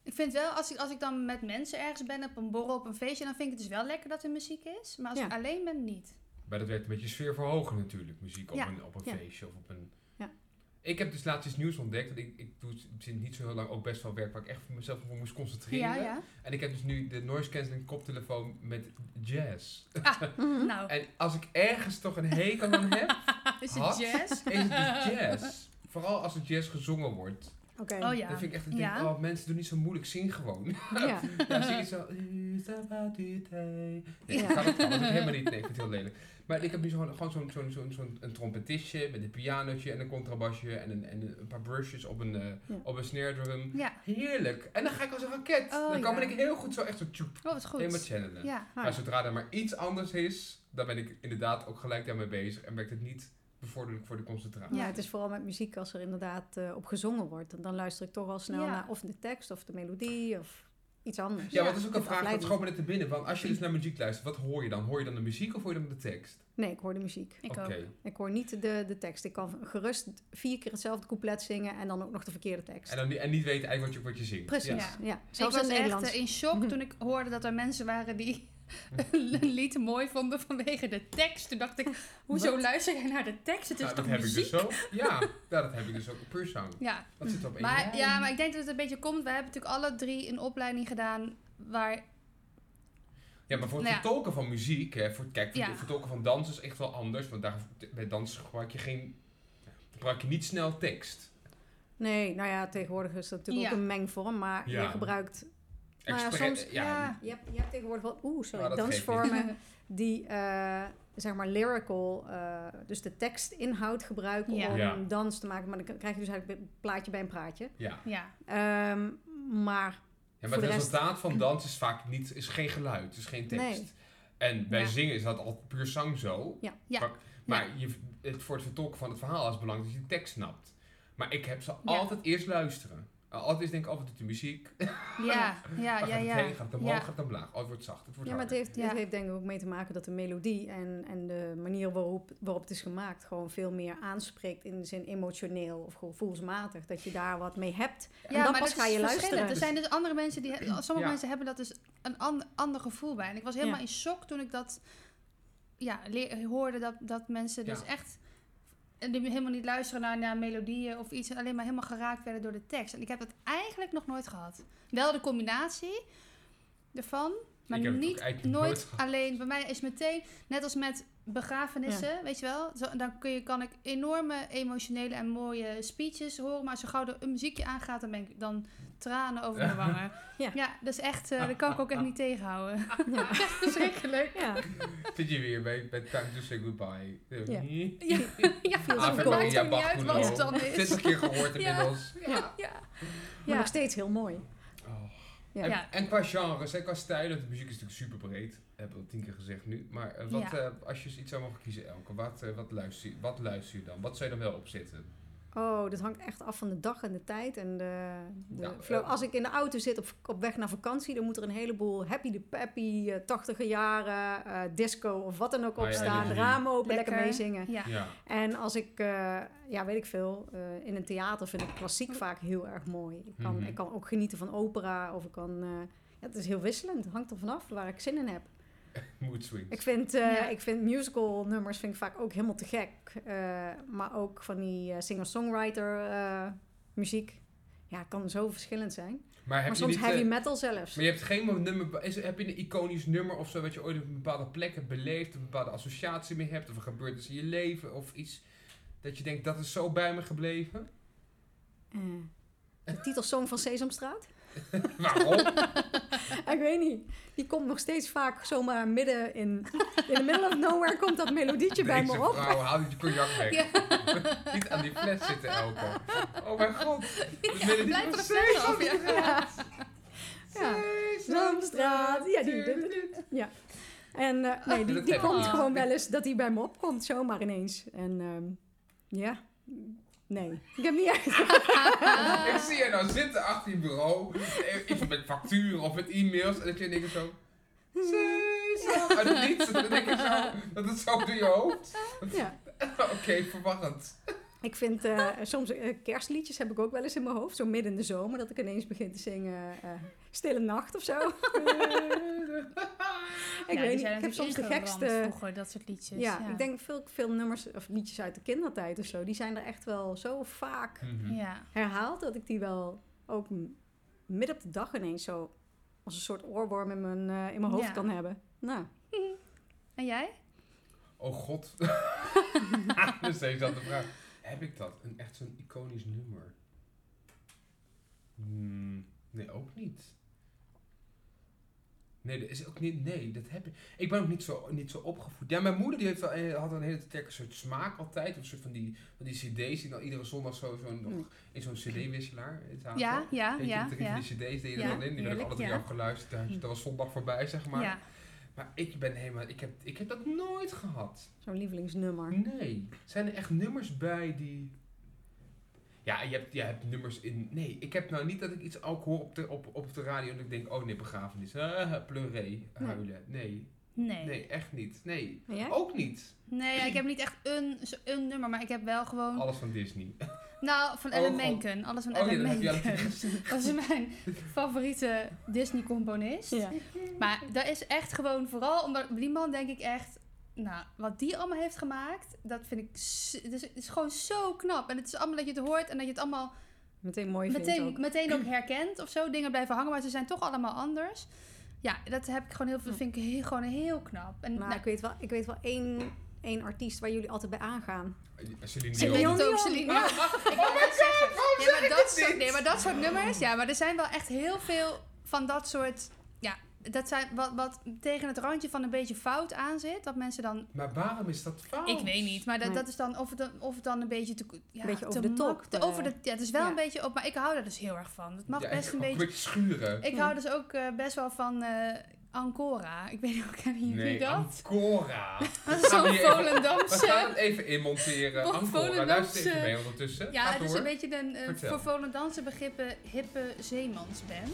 Speaker 2: Ik vind wel, als ik, als ik dan met mensen ergens ben, op een borrel, op een feestje, dan vind ik het dus wel lekker dat er muziek is. Maar als
Speaker 4: Ja.
Speaker 2: ik alleen ben, niet.
Speaker 3: Maar dat werd een beetje sfeer verhogen natuurlijk, muziek op
Speaker 2: Ja,
Speaker 3: een, op een
Speaker 4: ja.
Speaker 3: feestje of op een...
Speaker 4: Ja.
Speaker 3: Ik heb dus laatst iets nieuws ontdekt, want ik, ik doe sinds niet zo heel lang ook best wel werk waar ik echt voor mezelf voor moest concentreren.
Speaker 2: Ja, ja.
Speaker 3: En ik heb dus nu de noise cancelling koptelefoon met jazz.
Speaker 4: Hm?
Speaker 2: Nou,
Speaker 3: En als ik ergens toch een hekel aan heb,
Speaker 2: is
Speaker 3: Had?
Speaker 2: het jazz?
Speaker 3: is het dus jazz. Vooral als het jazz gezongen wordt.
Speaker 4: Oké.
Speaker 2: Oh ja.
Speaker 3: Dat vind ik echt, ik denk,
Speaker 2: Ja.
Speaker 3: oh mensen doen niet zo moeilijk, zing gewoon.
Speaker 4: Ja.
Speaker 3: Ja, zie je zo. "U sabat u thee." Nee,
Speaker 4: Ja.
Speaker 3: ik kan het kan het helemaal niet. Nee, ik vind het heel lelijk. Maar ik heb nu gewoon, gewoon zo'n zo'n zo'n zo'n een trompetistje met een pianotje en een contrabasje en een, en een paar brushes op een, eh,
Speaker 4: Ja.
Speaker 3: op een snare drum.
Speaker 2: Ja.
Speaker 3: Heerlijk. En dan ga ik als een raket.
Speaker 2: Oh,
Speaker 3: dan kan
Speaker 2: ja.
Speaker 3: ik heel goed zo echt zo tjoep,
Speaker 2: Oh, wat
Speaker 3: helemaal
Speaker 2: goed.
Speaker 3: channelen.
Speaker 2: Ja.
Speaker 3: Maar zodra er maar iets anders is, dan ben ik inderdaad ook gelijk daarmee bezig en werkt het niet bevorderlijk voor de concentratie.
Speaker 4: Ja,
Speaker 2: Ja.
Speaker 4: het is vooral met muziek als er inderdaad eh, op gezongen wordt. Dan- Dan luister ik toch al snel
Speaker 2: Ja.
Speaker 4: naar of de tekst of de melodie of iets anders.
Speaker 3: Ja, want dat is ook een
Speaker 4: het
Speaker 3: vraag, dat
Speaker 4: afleidt
Speaker 3: schoot me net te binnen. Want als je dus naar muziek luistert, wat hoor je dan? Hoor je dan de muziek of hoor je dan de tekst?
Speaker 4: niet. Nee, ik hoor de muziek.
Speaker 2: Ik
Speaker 3: Oké.
Speaker 2: ook.
Speaker 4: Ik hoor niet de, de tekst. Ik kan gerust vier keer hetzelfde couplet zingen en dan ook nog de verkeerde tekst.
Speaker 3: En, dan, en niet weten eigenlijk wat je, wat je zingt.
Speaker 4: Precies,
Speaker 3: Ja.
Speaker 4: ja.
Speaker 2: Ja.
Speaker 4: Zelfs
Speaker 2: ik
Speaker 4: in
Speaker 2: was
Speaker 4: het Nederlands. Hm.
Speaker 2: echt eh, in shock toen ik hoorde dat er mensen waren die een lied mooi vonden vanwege de tekst. Toen dacht ik, hoezo luister jij naar de tekst? Het is
Speaker 3: Nou, dat
Speaker 2: toch
Speaker 3: heb
Speaker 2: muziek?
Speaker 3: ik dus ook. Ja, ja, dat heb ik dus ook. Puur zang.
Speaker 2: Ja,
Speaker 3: Dat zit er op één
Speaker 2: maar,
Speaker 3: lijn.
Speaker 2: ja, maar ik denk dat het een beetje komt. We hebben natuurlijk alle drie een opleiding gedaan waar...
Speaker 3: Ja, maar voor het
Speaker 2: Nou ja.
Speaker 3: vertolken van muziek, hè, voor, kijk, voor
Speaker 2: Ja.
Speaker 3: het vertolken van dans is echt wel anders. Want daar, bij dans gebruik je geen. gebruik je niet snel tekst.
Speaker 4: Nee, nou ja, tegenwoordig is dat natuurlijk
Speaker 2: Ja.
Speaker 4: ook een mengvorm, maar je
Speaker 3: Ja.
Speaker 4: gebruikt... Nou ja,
Speaker 3: Expre-
Speaker 4: soms-
Speaker 3: ja,
Speaker 4: Je hebt, je hebt tegenwoordig wel, oeh, sorry,
Speaker 3: Maar Nou, dat geeft
Speaker 4: dansvormen die, eh, zeg maar, lyrical, eh, dus de tekstinhoud gebruiken
Speaker 2: Ja.
Speaker 4: om
Speaker 3: Ja.
Speaker 4: dans te maken. Maar dan k- krijg je dus eigenlijk een plaatje bij een praatje.
Speaker 3: ja.
Speaker 2: Ja,
Speaker 4: Ehm, maar
Speaker 3: Ja,
Speaker 4: Voor
Speaker 3: maar
Speaker 4: de
Speaker 3: het
Speaker 4: rest-
Speaker 3: resultaat van dans is vaak niet, is geen geluid, is geen tekst.
Speaker 4: Nee.
Speaker 3: En bij
Speaker 2: Ja.
Speaker 3: zingen is dat al puur zang zo.
Speaker 4: Ja.
Speaker 2: Ja.
Speaker 3: Maar, maar je, het, voor het vertolken van het verhaal is het belangrijk dat je de tekst snapt. Maar ik heb ze altijd eerst luisteren. Uh, Altijd eerst denk ik, oh, wat doet de muziek?
Speaker 2: ja, ja,
Speaker 3: Waar
Speaker 2: ja.
Speaker 3: gaat
Speaker 2: ja,
Speaker 3: het heen? Gaat het omhoog?
Speaker 2: Ja.
Speaker 3: Gaat het omlaag? Oh, het wordt zacht. Het wordt
Speaker 4: ja, maar het
Speaker 3: harder.
Speaker 4: heeft,
Speaker 2: Ja.
Speaker 4: het heeft denk ik ook mee te maken dat de melodie en, en de manier waarop, waarop het is gemaakt gewoon veel meer aanspreekt in de zin emotioneel of gevoelsmatig. Dat je daar wat mee hebt. En
Speaker 2: Ja,
Speaker 4: dan
Speaker 2: maar
Speaker 4: pas
Speaker 2: dat
Speaker 4: ga
Speaker 2: is
Speaker 4: je
Speaker 2: verschillend.
Speaker 4: luisteren.
Speaker 2: Er zijn dus andere mensen die... Sommige
Speaker 3: Ja.
Speaker 2: mensen hebben dat dus een an- ander gevoel bij. En ik was helemaal
Speaker 4: Ja.
Speaker 2: in shock toen ik dat ja, le- hoorde. Dat, dat mensen dus
Speaker 3: Ja.
Speaker 2: echt en die helemaal niet luisteren naar, naar melodieën of iets. en Alleen maar helemaal geraakt werden door de tekst. En ik heb dat eigenlijk nog nooit gehad. Wel de combinatie ervan. Maar
Speaker 3: Ik heb het ook
Speaker 2: niet
Speaker 3: eigenlijk
Speaker 2: nooit,
Speaker 3: nooit gehad.
Speaker 2: alleen. Bij mij is meteen, net als met begrafenissen, weet je wel. Zo, dan kun je, kan ik enorme emotionele en mooie speeches horen. Maar zo gauw er een muziekje aangaat, dan ben ik dan tranen over mijn wangen.
Speaker 4: Ja.
Speaker 2: Ja, dat is echt, eh dat kan ik ook echt niet tegenhouden. Verschrikkelijk.
Speaker 4: Ja,
Speaker 3: Zit je weer bij, bij Time to Say Goodbye. Eh,
Speaker 4: Ja.
Speaker 2: Ja, ja
Speaker 4: Ah,
Speaker 2: het maakt
Speaker 4: Maria
Speaker 2: ook niet uit
Speaker 3: Bakulo.
Speaker 2: wat het dan is.
Speaker 3: 20 keer gehoord inmiddels.
Speaker 2: Ja, ja.
Speaker 4: maar
Speaker 2: Ja.
Speaker 4: nog steeds heel mooi.
Speaker 3: Oh.
Speaker 4: Ja.
Speaker 3: En,
Speaker 2: Ja.
Speaker 3: en qua genres, en qua stijlen, de muziek is natuurlijk super breed. Heb ik al tien keer gezegd nu. Maar eh, wat,
Speaker 2: Ja.
Speaker 3: eh, als je eens iets zou mogen kiezen, Elke, wat, eh, wat, luister, je- wat luister je dan? Wat zou je dan wel opzetten?
Speaker 4: Oh, dat hangt echt af van de dag en de tijd en de, de
Speaker 3: Ja,
Speaker 4: flow.
Speaker 3: eh.
Speaker 4: Als ik in de auto zit op, op weg naar vakantie, dan moet er een heleboel happy de peppy, eh, 80e jaren, eh, disco of wat dan ook
Speaker 3: Ah,
Speaker 4: op
Speaker 3: ja,
Speaker 4: staan.
Speaker 3: ja, ja.
Speaker 4: Ramen open, lekker,
Speaker 2: Lekker.
Speaker 4: meezingen.
Speaker 2: Ja.
Speaker 3: Ja.
Speaker 4: En als ik, eh, ja, weet ik veel, eh, in een theater vind ik klassiek vaak heel erg mooi. Ik kan,
Speaker 3: Mhm.
Speaker 4: ik kan ook genieten van opera of ik kan... eh, ja, het is heel wisselend. Het hangt er vanaf waar ik zin in heb.
Speaker 3: Mood swings.
Speaker 4: Ik vind, eh,
Speaker 2: Ja.
Speaker 4: ik vind musical nummers vind ik vaak ook helemaal te gek. Eh, maar ook van die eh, singer-songwriter eh, muziek. Ja, kan zo verschillend zijn.
Speaker 3: maar heb
Speaker 4: maar
Speaker 3: je
Speaker 4: soms
Speaker 3: niet,
Speaker 4: heavy
Speaker 3: eh,
Speaker 4: metal zelfs.
Speaker 3: maar je hebt geen mo- nummer, is, heb je een iconisch nummer of zo, wat je ooit op een bepaalde plek hebt beleefd, een bepaalde associatie mee hebt, of een gebeurtenis in je leven, of iets dat je denkt, dat is zo bij me gebleven?
Speaker 4: Eh, de titelsong van Sesamstraat?
Speaker 3: Waarom?
Speaker 4: ik weet niet. Die komt nog steeds vaak zomaar midden in... In the middle of nowhere komt dat melodietje bij
Speaker 3: Deze
Speaker 4: me op.
Speaker 3: vrouw, haal die cognac weg.
Speaker 2: Ja.
Speaker 3: Niet aan die fles zitten, Elke. Oh mijn god. We
Speaker 2: Ja,
Speaker 3: willen
Speaker 2: blijf
Speaker 3: niet
Speaker 2: er
Speaker 3: van
Speaker 2: een fles af, ja.
Speaker 4: Ja.
Speaker 3: Sesamstraat.
Speaker 4: Ja, die- En eh, nee, die,
Speaker 3: Dat
Speaker 4: die
Speaker 3: heb ik
Speaker 4: komt
Speaker 2: niet.
Speaker 4: gewoon wel eens dat hij bij me opkomt, zomaar ineens. En ehm, ja, nee. Ik heb niet echt...
Speaker 3: Ik zie je nou zitten achter je bureau. eh, Iets met facturen of met e-mails. En dat je denkt zo... Sesam. Uit het niets. En dan denk je zo... Dat het zo door je hoofd.
Speaker 4: Ja.
Speaker 3: Oké, verwarrend.
Speaker 4: Ik vind eh, soms eh, kerstliedjes heb ik ook wel eens in mijn hoofd, zo midden in de zomer, dat ik ineens begin te zingen eh, Stille Nacht of zo. ik
Speaker 2: Ja, die
Speaker 4: weet niet,
Speaker 2: zijn
Speaker 4: ik heb
Speaker 2: natuurlijk
Speaker 4: soms de
Speaker 2: ingeramd
Speaker 4: gekste...
Speaker 2: Vroeger, dat soort liedjes.
Speaker 4: Ja, ik denk veel, veel nummers of liedjes uit de kindertijd of zo, die zijn er echt wel zo vaak
Speaker 3: Mhm.
Speaker 2: Ja.
Speaker 4: herhaald dat ik die wel ook m- midden op de dag ineens zo als een soort oorworm in mijn, eh, in mijn hoofd
Speaker 2: Ja.
Speaker 4: kan hebben. Nou,
Speaker 2: En jij?
Speaker 3: Oh god. dus steeds dat de vraag. Heb ik dat? Een, echt zo'n iconisch nummer? Hmm, nee, ook niet. Nee, dat is ook niet. Nee, dat heb ik. Ik ben ook niet zo, niet zo opgevoed. Ja, mijn moeder die heeft wel, eh, had een hele sterke soort smaak altijd. Of een soort van die, van die CD's die dan iedere zondag zo, zo nog in zo'n CD-wisselaar eh, zaten.
Speaker 2: Hmm. Ja, ja,
Speaker 3: Weet je,
Speaker 2: ja,
Speaker 3: drie van
Speaker 2: ja.
Speaker 3: die CD's die je er
Speaker 2: Ja,
Speaker 3: dan in. Die ben ik
Speaker 2: heerlijk,
Speaker 3: alle drie
Speaker 2: ja. Hmm.
Speaker 3: afgeluisterd. Daar- Dat was zondag voorbij, zeg maar.
Speaker 2: Ja.
Speaker 3: Maar ik ben helemaal. Ik heb, ik heb dat nooit gehad.
Speaker 2: Mm.
Speaker 4: zo'n lievelingsnummer.
Speaker 3: Nee. Zijn er echt nummers bij die. Ja, Ja, je hebt, je hebt nummers in... Nee, ik heb nou niet dat ik iets ook hoor op de, op, op de radio en ik denk, oh nee, begrafenis. Eh, pleuré, huilen. Nee.
Speaker 2: Nee. Nee,
Speaker 3: nee, echt niet. Nee,
Speaker 4: En jij?
Speaker 3: ook niet.
Speaker 2: ja, ik heb niet echt een, zo- een nummer, maar ik heb wel gewoon...
Speaker 3: Alles van Disney.
Speaker 2: Nou, Oh. van
Speaker 3: Oh,
Speaker 2: Ellen
Speaker 3: God.
Speaker 2: Menken. Alles van
Speaker 3: Oh, ja,
Speaker 2: Ellen
Speaker 3: dan heb je
Speaker 2: Menken.
Speaker 3: Ellen
Speaker 2: dat is mijn favoriete Disney-componist.
Speaker 4: Ja.
Speaker 2: Maar dat is echt gewoon vooral omdat die man denk ik echt, nou, wat die allemaal heeft gemaakt, dat vind ik, s- het is, het is gewoon zo knap. En het is allemaal dat je het hoort en dat je het allemaal
Speaker 4: Meteen mooi
Speaker 2: meteen
Speaker 4: vindt
Speaker 2: ook.
Speaker 4: ook.
Speaker 2: meteen ook herkent of zo. Dingen blijven hangen, maar ze zijn toch allemaal anders. Ja, dat heb ik gewoon heel veel, vind ik heel, gewoon heel knap. En
Speaker 4: Maar
Speaker 2: nou,
Speaker 4: ik weet wel, ik weet wel één, één artiest waar jullie altijd bij aangaan.
Speaker 3: Celine
Speaker 2: ik
Speaker 4: Celine
Speaker 2: weet
Speaker 3: Dion.
Speaker 2: het ook,
Speaker 4: Dion.
Speaker 2: Celine.
Speaker 3: Maar
Speaker 2: Ja.
Speaker 3: wacht,
Speaker 2: Ik wou net zeggen, nee, maar dat
Speaker 3: dit
Speaker 2: soort,
Speaker 3: niet?
Speaker 2: nee, maar dat soort nummers, ja, maar er zijn wel echt heel veel van dat soort, ja, dat zijn wat, wat tegen het randje van een beetje fout aan zit, dat mensen dan
Speaker 3: Maar waarom is dat fout?
Speaker 2: Ik weet niet, maar dat,
Speaker 4: Nee.
Speaker 2: dat is dan of, het dan of het dan een beetje te ja,
Speaker 4: Een beetje over
Speaker 2: te
Speaker 4: de top,
Speaker 2: mak- te
Speaker 4: eh.
Speaker 2: over de, ja, het is wel
Speaker 4: Ja.
Speaker 2: een beetje op, maar ik hou daar dus heel erg van. Het mag
Speaker 3: Ja,
Speaker 2: best een
Speaker 3: ook
Speaker 2: beetje.
Speaker 3: schuren.
Speaker 2: Ik hou dus ook eh, best wel van eh, Ancora. Ik weet niet hoe kennen jullie
Speaker 3: Nee, Ah,
Speaker 2: dat?
Speaker 3: Ancora.
Speaker 2: Dat is
Speaker 3: Gaan we
Speaker 2: zo'n
Speaker 3: hier even- We gaan
Speaker 2: Volendamse.
Speaker 3: het even inmonteren.
Speaker 2: Vol-
Speaker 3: Ancora,
Speaker 2: Volendamse-
Speaker 3: luister even mee ondertussen.
Speaker 2: Ja,
Speaker 3: Ga
Speaker 2: het is
Speaker 3: door.
Speaker 2: een beetje een eh,
Speaker 3: Vertel.
Speaker 2: voor Volendamse begrippen hippe zeemansband.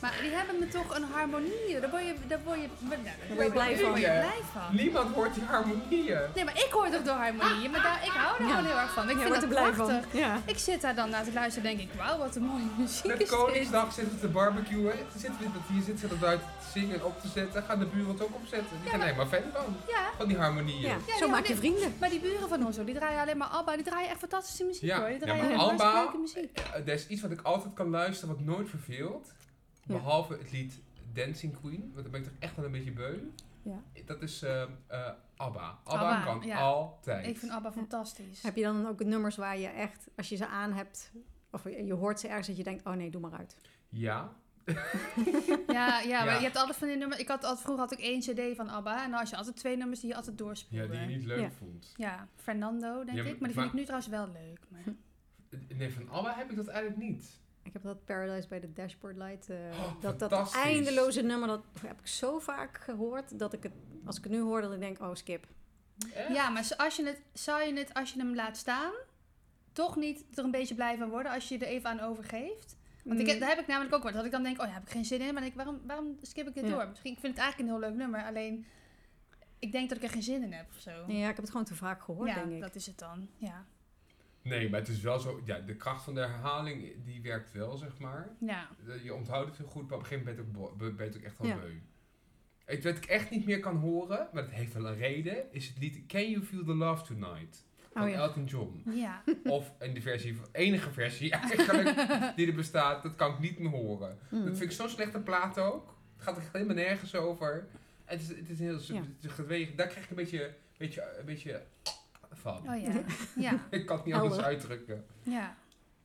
Speaker 2: Maar die hebben me toch een harmonie. Daar word je, daar word je, daar
Speaker 4: word je blij
Speaker 2: Daar
Speaker 4: van.
Speaker 2: word je blij van.
Speaker 3: Niemand hoort die harmonieën.
Speaker 2: Nee, maar ik hoor toch de harmonie. Maar daar, ik hou daar
Speaker 4: Ja.
Speaker 2: gewoon heel erg van. Ik
Speaker 4: Jij
Speaker 2: vind
Speaker 4: wordt
Speaker 2: dat
Speaker 4: er blij
Speaker 2: prachtig.
Speaker 4: van. Ja.
Speaker 2: Ik zit daar dan naar te luisteren en denk ik, wauw, wat een mooie muziek
Speaker 3: Met
Speaker 2: is dit.
Speaker 3: Koningsdag zitten we te barbecuen. Zitten we, dat hier zitten ze dat uit te zingen en op te zetten. Gaan de buren het ook opzetten. Die
Speaker 2: Ja,
Speaker 3: gaan
Speaker 2: maar-
Speaker 3: helemaal fan van.
Speaker 2: Ja,
Speaker 3: Van die harmonieën.
Speaker 4: Ja,
Speaker 3: Ja,
Speaker 2: Ja,
Speaker 4: zo
Speaker 2: die
Speaker 4: maak je
Speaker 2: hoorde-
Speaker 4: vrienden.
Speaker 2: maar die buren van ons, hoor, die draaien alleen maar ABBA. Die draaien echt fantastische muziek,
Speaker 3: Ja,
Speaker 2: hoor. Die
Speaker 3: ja,
Speaker 2: draaien
Speaker 3: maar
Speaker 2: echt hartstikke
Speaker 3: ABBA-
Speaker 2: leuke muziek.
Speaker 3: Eh, Er is iets wat ik altijd kan luisteren wat nooit verveelt.
Speaker 4: Ja.
Speaker 3: Behalve het lied Dancing Queen. Want dan ben ik toch echt wel een beetje beu.
Speaker 4: Ja.
Speaker 3: Dat is eh, eh, ABBA. ABBA,
Speaker 2: ABBA,
Speaker 3: kan
Speaker 2: ja.
Speaker 3: altijd.
Speaker 2: Ik vind ABBA fantastisch.
Speaker 4: Heb je dan ook nummers waar je echt, als je ze aan hebt, of je je hoort ze ergens, dat je denkt, oh nee, doe maar uit.
Speaker 3: Ja.
Speaker 2: Ja, ja, maar
Speaker 3: Ja.
Speaker 2: je hebt altijd van die nummers. Ik had altijd, vroeger had ik één cd van ABBA. En dan had je altijd twee nummers die je altijd
Speaker 3: ja,
Speaker 2: doorspeelde.
Speaker 3: die je niet leuk
Speaker 4: Ja.
Speaker 3: vond.
Speaker 2: Ja, Fernando, denk
Speaker 3: Ja,
Speaker 2: ik. Maar die vind
Speaker 3: maar-
Speaker 2: ik nu trouwens wel leuk. Maar...
Speaker 3: Nee, van ABBA heb ik dat eigenlijk niet.
Speaker 4: Ik heb dat Paradise by the Dashboard Light, eh,
Speaker 3: Oh,
Speaker 4: dat, dat
Speaker 3: fantastisch.
Speaker 4: eindeloze nummer, dat heb ik zo vaak gehoord, dat ik het, als ik het nu hoor, dat ik denk, oh skip.
Speaker 3: Echt?
Speaker 2: Ja, maar zo- als je het, zou je het, als je hem laat staan, toch niet er een beetje blij van worden als je er even aan overgeeft? Want ik, heb-
Speaker 4: Mm.
Speaker 2: daar heb ik namelijk ook wat. Dat ik dan denk, oh, daar heb ik geen zin in. Maar dan denk ik, waarom, waarom skip ik dit
Speaker 4: Ja.
Speaker 2: door? Misschien, ik vind het eigenlijk een heel leuk nummer. Alleen, ik denk dat ik er geen zin in heb of zo.
Speaker 4: Ja, ik heb het gewoon te vaak gehoord,
Speaker 2: Ja,
Speaker 4: denk ik.
Speaker 2: dat is het dan. Ja.
Speaker 3: Nee, maar het is wel zo. Ja, de kracht van de herhaling die werkt wel, zeg maar.
Speaker 2: ja.
Speaker 3: Je onthoudt het heel goed, maar op een gegeven moment ben je ook bo- ben je ook echt wel
Speaker 4: Ja.
Speaker 3: beu. Het wat ik echt niet meer kan horen, maar dat heeft wel een reden, is het lied Can You Feel the Love Tonight van
Speaker 4: Oh ja.
Speaker 3: Elton John.
Speaker 2: Ja.
Speaker 3: Of in de versie, enige versie eigenlijk, die er bestaat, dat kan ik niet meer horen.
Speaker 4: Mm.
Speaker 3: Dat vind ik zo'n slechte plaat ook. Het gaat er echt helemaal nergens over. Het is, het is heel sub-
Speaker 4: Ja.
Speaker 3: het is gedwegen. Daar krijg ik een beetje, beetje, een beetje van.
Speaker 2: Oh ja. Ja.
Speaker 3: Ik kan het niet anders
Speaker 4: Oude.
Speaker 3: uitdrukken.
Speaker 2: Ja.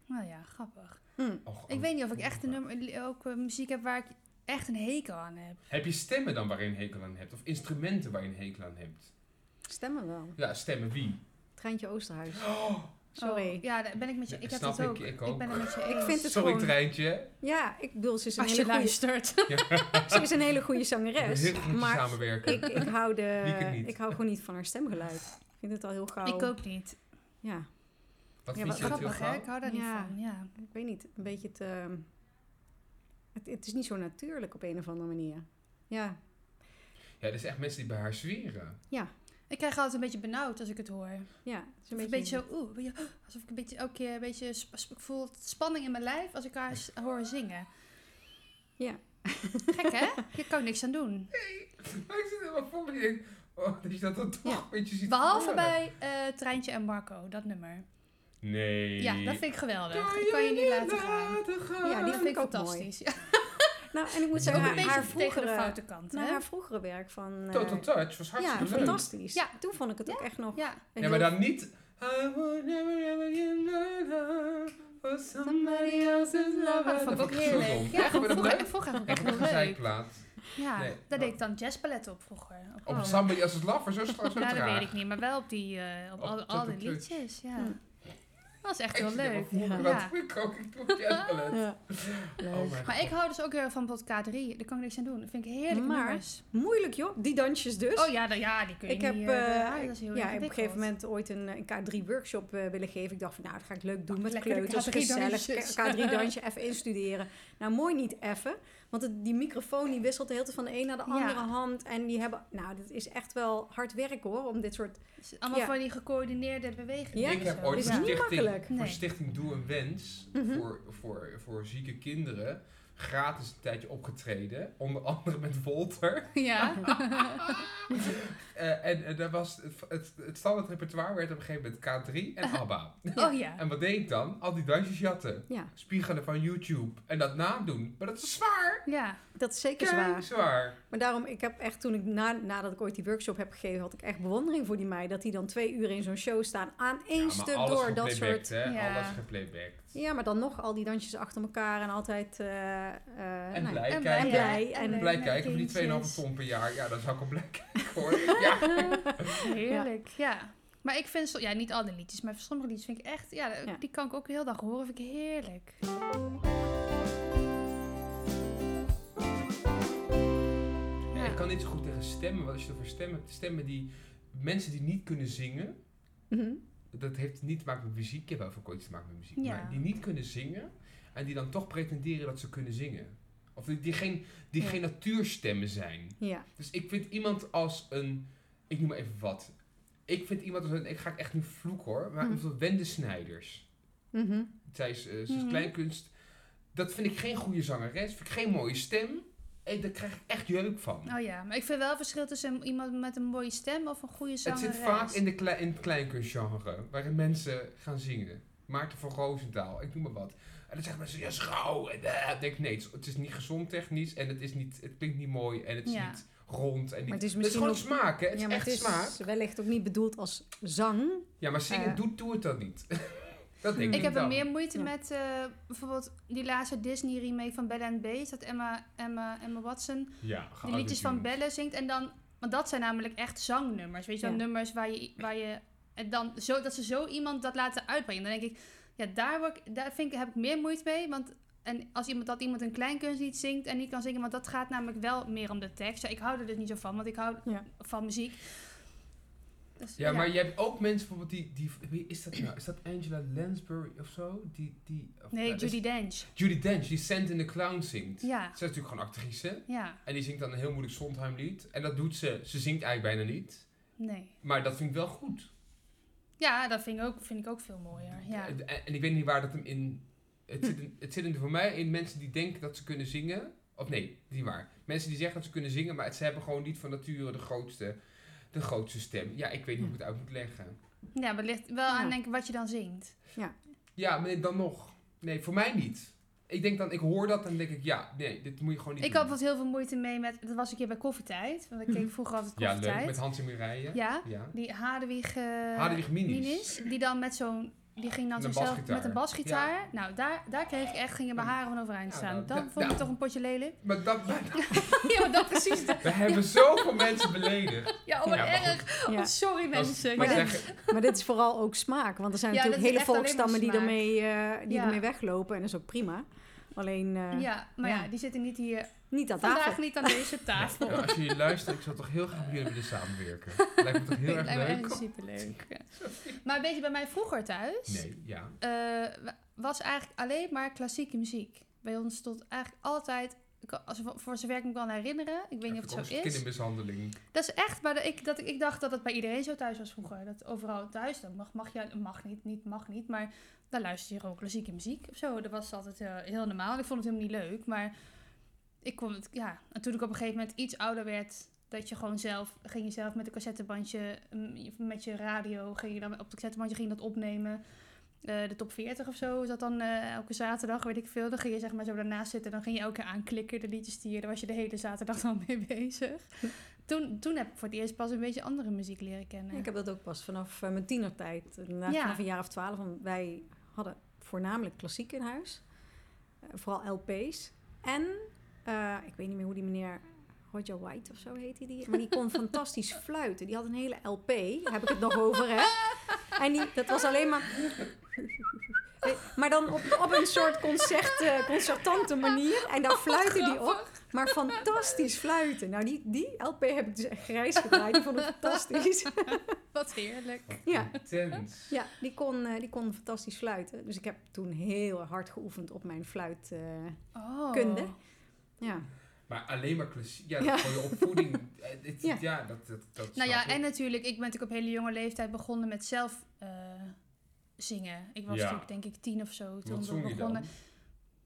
Speaker 2: Nou ja, grappig.
Speaker 4: Mm.
Speaker 3: Och,
Speaker 2: Ik
Speaker 3: oh.
Speaker 2: weet niet of ik echt een nummer, ook eh, muziek heb waar ik echt een hekel aan heb.
Speaker 3: Heb je stemmen dan waar je een hekel aan hebt? Of instrumenten waar je een hekel aan hebt?
Speaker 4: Mm. Stemmen wel.
Speaker 3: Ja, stemmen wie?
Speaker 4: Treintje Oosterhuis.
Speaker 3: Oh,
Speaker 4: Sorry.
Speaker 2: Oh, ja, daar ben ik met je.
Speaker 3: Ja,
Speaker 2: Ik heb
Speaker 3: snap
Speaker 2: dat
Speaker 3: ik,
Speaker 2: ook.
Speaker 3: ik
Speaker 2: Ik
Speaker 3: ook.
Speaker 2: ben het met je
Speaker 4: Ik
Speaker 2: eens.
Speaker 4: vind het
Speaker 3: sorry
Speaker 4: gewoon-
Speaker 3: treintje.
Speaker 4: Ja, ik bedoel, ze is een,
Speaker 2: Als je
Speaker 4: hele goede,
Speaker 2: luistert.
Speaker 4: ze is een hele goede
Speaker 3: Yes,
Speaker 4: zangeres.
Speaker 3: heel goed
Speaker 4: maar
Speaker 3: samenwerken.
Speaker 4: ik, ik, hou
Speaker 3: Wie
Speaker 4: de,
Speaker 3: kan niet?
Speaker 4: ik hou gewoon niet van haar stemgeluid. Ik vind het al heel gauw.
Speaker 2: Ik ook niet.
Speaker 4: Ja,
Speaker 3: Wat
Speaker 4: Ja,
Speaker 3: vind
Speaker 4: wat
Speaker 3: je dat heel
Speaker 2: Grappig, hè? Ik
Speaker 3: gaaf?
Speaker 2: hou daar niet
Speaker 4: Ja.
Speaker 2: van. Ja.
Speaker 4: ik weet niet. Een beetje te... Het, het is niet zo natuurlijk op een of andere manier. Ja,
Speaker 3: Ja, er zijn echt mensen die bij haar zweren.
Speaker 2: Ik krijg altijd een beetje benauwd als ik het hoor.
Speaker 4: ja. Het is
Speaker 2: Of een beetje zo, oeh, weet je, alsof ik een beetje, elke keer een beetje, sp- sp- ik voel spanning in mijn lijf als ik haar s- hoor zingen.
Speaker 4: Ja.
Speaker 2: Gek hè? Je kan er niks aan doen.
Speaker 3: Maar ik zit helemaal voor me. Ik denk, oh, dat je dat dan toch
Speaker 4: Ja.
Speaker 3: een beetje ziet
Speaker 2: Behalve
Speaker 3: gebeuren.
Speaker 2: bij eh, Treintje en Marco, dat nummer.
Speaker 3: Nee.
Speaker 2: Ja, dat vind ik geweldig. Dat kan je niet laten gaan.
Speaker 4: Ja, die
Speaker 2: Dat
Speaker 4: vind
Speaker 2: vind
Speaker 4: ik
Speaker 2: ik
Speaker 4: ook mooi.
Speaker 2: fantastisch. Ja,
Speaker 4: Nou, en ik moet zeggen,
Speaker 2: ook
Speaker 3: Ja,
Speaker 2: een
Speaker 4: haar,
Speaker 2: beetje
Speaker 4: haar
Speaker 2: tegen de
Speaker 4: vroegere...
Speaker 2: foute kant
Speaker 4: Nou,
Speaker 2: hè?
Speaker 4: haar vroegere werk van... eh,
Speaker 3: Total Touch was
Speaker 4: ja,
Speaker 3: hartstikke leuk.
Speaker 4: fantastisch.
Speaker 2: Ja.
Speaker 4: Toen vond ik het ook echt nog...
Speaker 2: Ja,
Speaker 4: een
Speaker 3: Ja, maar
Speaker 4: heel-
Speaker 3: dan niet. I would never ever give my love for somebody else's love.
Speaker 2: Oh, dat vond ik ook
Speaker 3: zo
Speaker 2: heerlijk.
Speaker 3: dom.
Speaker 2: Ja,
Speaker 3: Echt, maar dat
Speaker 2: vroeger,
Speaker 3: leuk.
Speaker 2: vroeger vond ik
Speaker 3: Echt
Speaker 2: echt
Speaker 3: een
Speaker 2: heel leuk.
Speaker 3: gezeikplaat.
Speaker 2: Ja,
Speaker 3: Nee,
Speaker 2: daar
Speaker 3: maar-
Speaker 2: deed ik dan jazzballet op vroeger. Op-
Speaker 3: Op
Speaker 4: Oh.
Speaker 3: Somebody Else's Love, zo, zo, zo
Speaker 2: Nou, dat
Speaker 3: traag.
Speaker 2: weet ik niet, maar wel op die, eh, op
Speaker 3: Op
Speaker 2: al, al die
Speaker 3: Totootje.
Speaker 2: liedjes, ja.
Speaker 4: Hm.
Speaker 2: was echt heel leuk.
Speaker 3: Ja.
Speaker 2: Ja.
Speaker 3: Wat ik ook, ik doe het juist wel uit.
Speaker 4: Ja.
Speaker 3: Oh mijn
Speaker 2: Maar ik
Speaker 3: god.
Speaker 2: hou dus ook heel erg van Bot K3. Daar kan ik niks aan doen. Dat vind ik heerlijk.
Speaker 4: Maar-
Speaker 2: nummers.
Speaker 4: Moeilijk joh, die dansjes dus.
Speaker 2: Oh ja, dan, ja, die kun je
Speaker 4: Ik
Speaker 2: niet...
Speaker 4: heb,
Speaker 2: eh,
Speaker 4: eh,
Speaker 2: ah, dat is heel
Speaker 4: ja, ik heb op een
Speaker 2: ingewikkeld.
Speaker 4: gegeven moment ooit een, een K3-workshop willen geven. Ik dacht van, nou, dat ga ik leuk doen met
Speaker 2: Lekker de
Speaker 4: kleuters, gezellig.
Speaker 2: K3-dansjes.
Speaker 4: K3-dansje, even instuderen. Nou, mooi niet even. Want het- die microfoon die wisselt de hele tijd van de een naar de
Speaker 2: Ja.
Speaker 4: andere hand. En die hebben, nou, dat is echt wel hard werk hoor, om dit soort...
Speaker 2: Het is Allemaal
Speaker 4: Ja.
Speaker 2: van die gecoördineerde bewegingen.
Speaker 4: Ja.
Speaker 3: ik
Speaker 2: en
Speaker 3: heb
Speaker 2: zo.
Speaker 3: ooit
Speaker 4: Dus
Speaker 3: voor,
Speaker 4: niet
Speaker 3: stichting,
Speaker 4: makkelijk.
Speaker 3: voor
Speaker 2: Nee.
Speaker 3: stichting Doe een Wens
Speaker 4: Mhm.
Speaker 3: voor, voor, voor zieke kinderen gratis een tijdje opgetreden. Onder andere met Volter.
Speaker 2: Ja.
Speaker 3: Eh, en eh, daar was het, het, het standaard repertoire werd op een gegeven moment K3 en
Speaker 4: Ah.
Speaker 3: ABBA.
Speaker 2: Oh ja.
Speaker 3: En wat deed ik dan? Al die dansjes jatten.
Speaker 4: Ja,
Speaker 3: Spiegelen van YouTube. En dat nadoen. Maar dat is zwaar.
Speaker 2: Ja.
Speaker 4: dat is zeker
Speaker 3: Kei
Speaker 4: zwaar.
Speaker 3: zwaar.
Speaker 4: Maar daarom, ik heb echt toen ik na, nadat ik ooit die workshop heb gegeven, had ik echt bewondering voor die meid. Dat die dan twee uur in zo'n show staan aan één
Speaker 3: Ja, maar
Speaker 4: stuk
Speaker 3: alles
Speaker 4: door dat soort.
Speaker 3: geplaybacked, hè?
Speaker 2: Ja.
Speaker 3: Alles geplaybacked.
Speaker 4: Ja, maar dan nog al die dansjes achter elkaar en altijd. eh, eh,
Speaker 3: En
Speaker 4: nou ja.
Speaker 3: blij
Speaker 2: En
Speaker 3: kijken.
Speaker 4: blij, ja. blij, en
Speaker 3: eh, Blij kijken voor die 2,5
Speaker 2: kindjes.
Speaker 3: ton per jaar. Ja, dan zou ik al blij kijken hoor. Ja.
Speaker 2: Heerlijk, ja. Maar ik vind, zo- ja, niet alle liedjes, maar sommige liedjes vind ik echt, ja,
Speaker 4: Ja.
Speaker 2: die kan ik ook heel dag horen, vind ik heerlijk.
Speaker 3: Ja, ik kan niet zo goed tegen stemmen. Want als je het over stemmen hebt. Stemmen die... Mensen die niet kunnen zingen.
Speaker 4: Mhm.
Speaker 3: dat heeft niet te maken met muziek. Ik heb wel veel ooit te maken met muziek.
Speaker 2: Ja.
Speaker 3: Maar die niet kunnen zingen en die dan toch pretenderen dat ze kunnen zingen. Of die, die, geen, die
Speaker 4: Ja.
Speaker 3: geen natuurstemmen zijn.
Speaker 4: Ja.
Speaker 3: Dus ik vind iemand als een. Ik noem maar even wat. Ik vind iemand als een. Ik ga echt niet vloeken hoor. Maar
Speaker 4: Hm.
Speaker 3: bijvoorbeeld Wende Snijders.
Speaker 4: Mhm.
Speaker 3: Zij is, eh, ze is
Speaker 2: Mhm.
Speaker 3: kleinkunst. Dat vind ik geen goede zangeres. Vind ik geen mooie stem. En daar krijg ik echt jeuk van.
Speaker 2: Oh ja, maar ik vind wel verschil tussen iemand met een mooie stem of een goede
Speaker 3: Het
Speaker 2: zangeres.
Speaker 3: zit vaak in, de klei- in het kleinkunstgenre, waarin mensen gaan zingen. Maarten van Roosendaal, ik noem maar wat. En dan zeggen mensen, ja, schouw. En eh, ik denk, nee, het is- het is niet gezond technisch en het, is niet, het klinkt niet mooi en het is
Speaker 2: Ja.
Speaker 3: niet rond. En niet,
Speaker 4: Maar het
Speaker 3: het
Speaker 4: is
Speaker 3: is
Speaker 4: misschien
Speaker 3: gewoon smaak, hè? Het
Speaker 4: ja,
Speaker 3: is
Speaker 4: maar
Speaker 3: echt
Speaker 4: het is
Speaker 3: smaak.
Speaker 4: wellicht ook niet bedoeld als zang.
Speaker 3: Ja, maar zingen
Speaker 4: Eh.
Speaker 3: doet, doet het dan niet. dat denk ik
Speaker 2: Ik heb er
Speaker 3: dan.
Speaker 2: meer moeite
Speaker 4: Ja.
Speaker 2: met eh, bijvoorbeeld die laatste Disney remake van Bella and Beast, dat Emma, Emma, Emma Watson
Speaker 3: ja,
Speaker 2: de liedjes van Bella zingt en dan, want dat zijn namelijk echt zangnummers, weet je wel,
Speaker 4: Ja.
Speaker 2: nummers waar je, waar je, en dan zo, dat ze zo iemand dat laten uitbrengen. Dan denk ik, ja, daar, word ik, daar vind ik, heb ik meer moeite mee, want en als iemand, dat iemand een kleinkunstlied zingt en niet kan zingen, want dat gaat namelijk wel meer om de tekst. Ja, ik hou er dus niet zo van, want ik hou
Speaker 4: Ja.
Speaker 2: van muziek. Dus,
Speaker 3: Ja, maar je hebt ook mensen bijvoorbeeld die, die wie is dat nou? Is dat Angela Lansbury of zo? Die, die, of-
Speaker 2: Nee,
Speaker 3: nou, dat is-
Speaker 2: Judy Dench.
Speaker 3: Judi Dench, die Sand in the Clown zingt.
Speaker 2: Ja,
Speaker 3: Zij is natuurlijk gewoon actrice.
Speaker 2: ja,
Speaker 3: En die zingt dan een heel moeilijk Sondheimlied. En dat doet ze. Ze zingt eigenlijk bijna niet.
Speaker 2: nee.
Speaker 3: Maar dat vind ik wel goed.
Speaker 2: Ja, dat vind ik ook, vind ik ook veel mooier. Ja. Hm.
Speaker 3: En, en ik weet niet waar dat hem in... Het zit, in- het zit in, voor mij in mensen die denken dat ze kunnen zingen. Of nee, niet waar. Mensen die zeggen dat ze kunnen zingen, maar het, ze hebben gewoon niet van nature de grootste, de grootste stem. Ja, ik weet
Speaker 2: Hm.
Speaker 3: niet hoe ik het uit moet leggen.
Speaker 2: ja, maar het ligt wel
Speaker 4: Ja.
Speaker 2: aan denk ik wat je dan zingt.
Speaker 3: Ja, maar nee, dan nog. Nee, voor mij niet. Ik denk dan, ik hoor dat en denk ik, ja, nee, dit moet je gewoon niet
Speaker 2: Ik
Speaker 3: doen.
Speaker 2: had wat heel veel moeite mee met, dat was een keer bij koffietijd, want ik keek vroeger altijd
Speaker 3: Mhm. Ja, leuk, met
Speaker 2: koffietijd.
Speaker 3: Hans en Mireille.
Speaker 2: Ja,
Speaker 3: ja.
Speaker 2: die Hadewig, eh,
Speaker 3: Hadewig Minis.
Speaker 2: die dan met zo'n, die ging dan
Speaker 3: Met een
Speaker 2: zichzelf
Speaker 3: basgitaar.
Speaker 2: met een basgitaar. Nou, daar, daar kreeg ik echt, gingen mijn haren van overeind
Speaker 3: Ja,
Speaker 2: staan.
Speaker 3: nou,
Speaker 2: dan
Speaker 3: da-
Speaker 2: vond ik
Speaker 3: da-
Speaker 2: toch een potje lelijk.
Speaker 3: Maar dat,
Speaker 2: ja, maar dat precies.
Speaker 3: we hebben zoveel mensen beledigd.
Speaker 2: Ja, oh, wat
Speaker 3: Ja, maar goed.
Speaker 2: erg.
Speaker 4: Ja.
Speaker 2: Oh, sorry
Speaker 3: Dat is-
Speaker 2: mensen.
Speaker 3: maar
Speaker 2: Ja.
Speaker 4: dat-
Speaker 3: zeg,
Speaker 4: Maar dit is vooral ook smaak. Want er zijn
Speaker 2: Ja,
Speaker 4: natuurlijk
Speaker 2: dat is
Speaker 4: hele
Speaker 2: echt alleen maar
Speaker 4: volkstammen die,
Speaker 2: smaak.
Speaker 4: ermee, eh, die
Speaker 2: Ja.
Speaker 4: ermee weglopen. En dat is ook prima. Alleen eh,
Speaker 2: Ja, maar ja.
Speaker 4: Ja.
Speaker 2: die zitten niet hier.
Speaker 4: niet aan
Speaker 2: Vandaag
Speaker 4: tafel.
Speaker 2: niet aan deze tafel.
Speaker 3: ja, als jullie luisteren, ik zou toch heel graag met jullie willen samenwerken. Lijkt me toch heel erg
Speaker 2: Lijkt me
Speaker 3: leuk.
Speaker 2: echt superleuk. Ja. Maar weet je, bij mij vroeger thuis
Speaker 3: Nee, ja.
Speaker 2: eh, wa- was eigenlijk alleen maar klassieke muziek. Bij ons stond eigenlijk altijd, ik- als, voor zover ik me kan herinneren, ik weet niet of
Speaker 3: Even
Speaker 2: het
Speaker 3: ook
Speaker 2: zo
Speaker 3: eens
Speaker 2: is.
Speaker 3: Kindermishandeling.
Speaker 2: Dat is echt, maar dat ik, dat, ik- ik dacht dat het bij iedereen zo thuis was vroeger. Dat overal thuis, dat mag, mag, je, mag niet, niet, mag niet, maar dan luister je gewoon klassieke muziek of zo. Dat was altijd eh, heel normaal. En Ik vond het helemaal niet leuk, maar ik kon het, ja. En toen ik op een gegeven moment iets ouder werd, dat je gewoon zelf, ging je zelf met een cassettebandje, mm, met je radio, ging je dan op het cassettebandje ging je dat opnemen. Eh, de top 40 of zo is dat dan eh, elke zaterdag, weet ik veel. Dan ging je zeg maar zo daarnaast zitten, dan ging je elke keer aanklikken, de liedjes die je, daar was je de hele zaterdag dan mee bezig. Toen, toen heb ik voor het eerst pas een beetje andere muziek leren kennen.
Speaker 4: Ik heb dat ook pas vanaf eh, mijn tienertijd. Inderdaad,
Speaker 2: Ja.
Speaker 4: Vanaf een jaar of twaalf. Want wij hadden voornamelijk klassiek in huis. Eh, vooral LP's. En eh, ik weet niet meer hoe die meneer... Roger White of zo heette die. Maar die kon fantastisch fluiten. Die had een hele LP. Daar heb ik het nog over, hè? En die, dat was alleen maar... Maar dan op, op een soort concert, eh, concertante manier. En dan fluiten die op. Maar fantastisch fluiten. Nou, die, die LP heb ik dus echt grijs gedraaid. Die vond ik fantastisch.
Speaker 2: Wat heerlijk.
Speaker 4: Ja.
Speaker 3: Intens.
Speaker 4: Ja, die kon, eh, die kon fantastisch fluiten. Dus ik heb toen heel hard geoefend op mijn fluit. eh,
Speaker 2: Oh.
Speaker 4: Kunde. ja.
Speaker 3: Maar alleen maar klassiek. Ja,
Speaker 4: Ja.
Speaker 3: voor je opvoeding. eh, dit-
Speaker 4: Ja.
Speaker 3: ja. dat, dat, dat
Speaker 2: Nou
Speaker 3: snap
Speaker 2: ja,
Speaker 3: ik.
Speaker 2: en natuurlijk, ik ben natuurlijk op hele jonge leeftijd begonnen met zelf eh, zingen. Ik was
Speaker 3: Ja.
Speaker 2: natuurlijk denk ik tien of zo toen
Speaker 3: Wat
Speaker 2: we
Speaker 3: zong je dan?
Speaker 2: begonnen.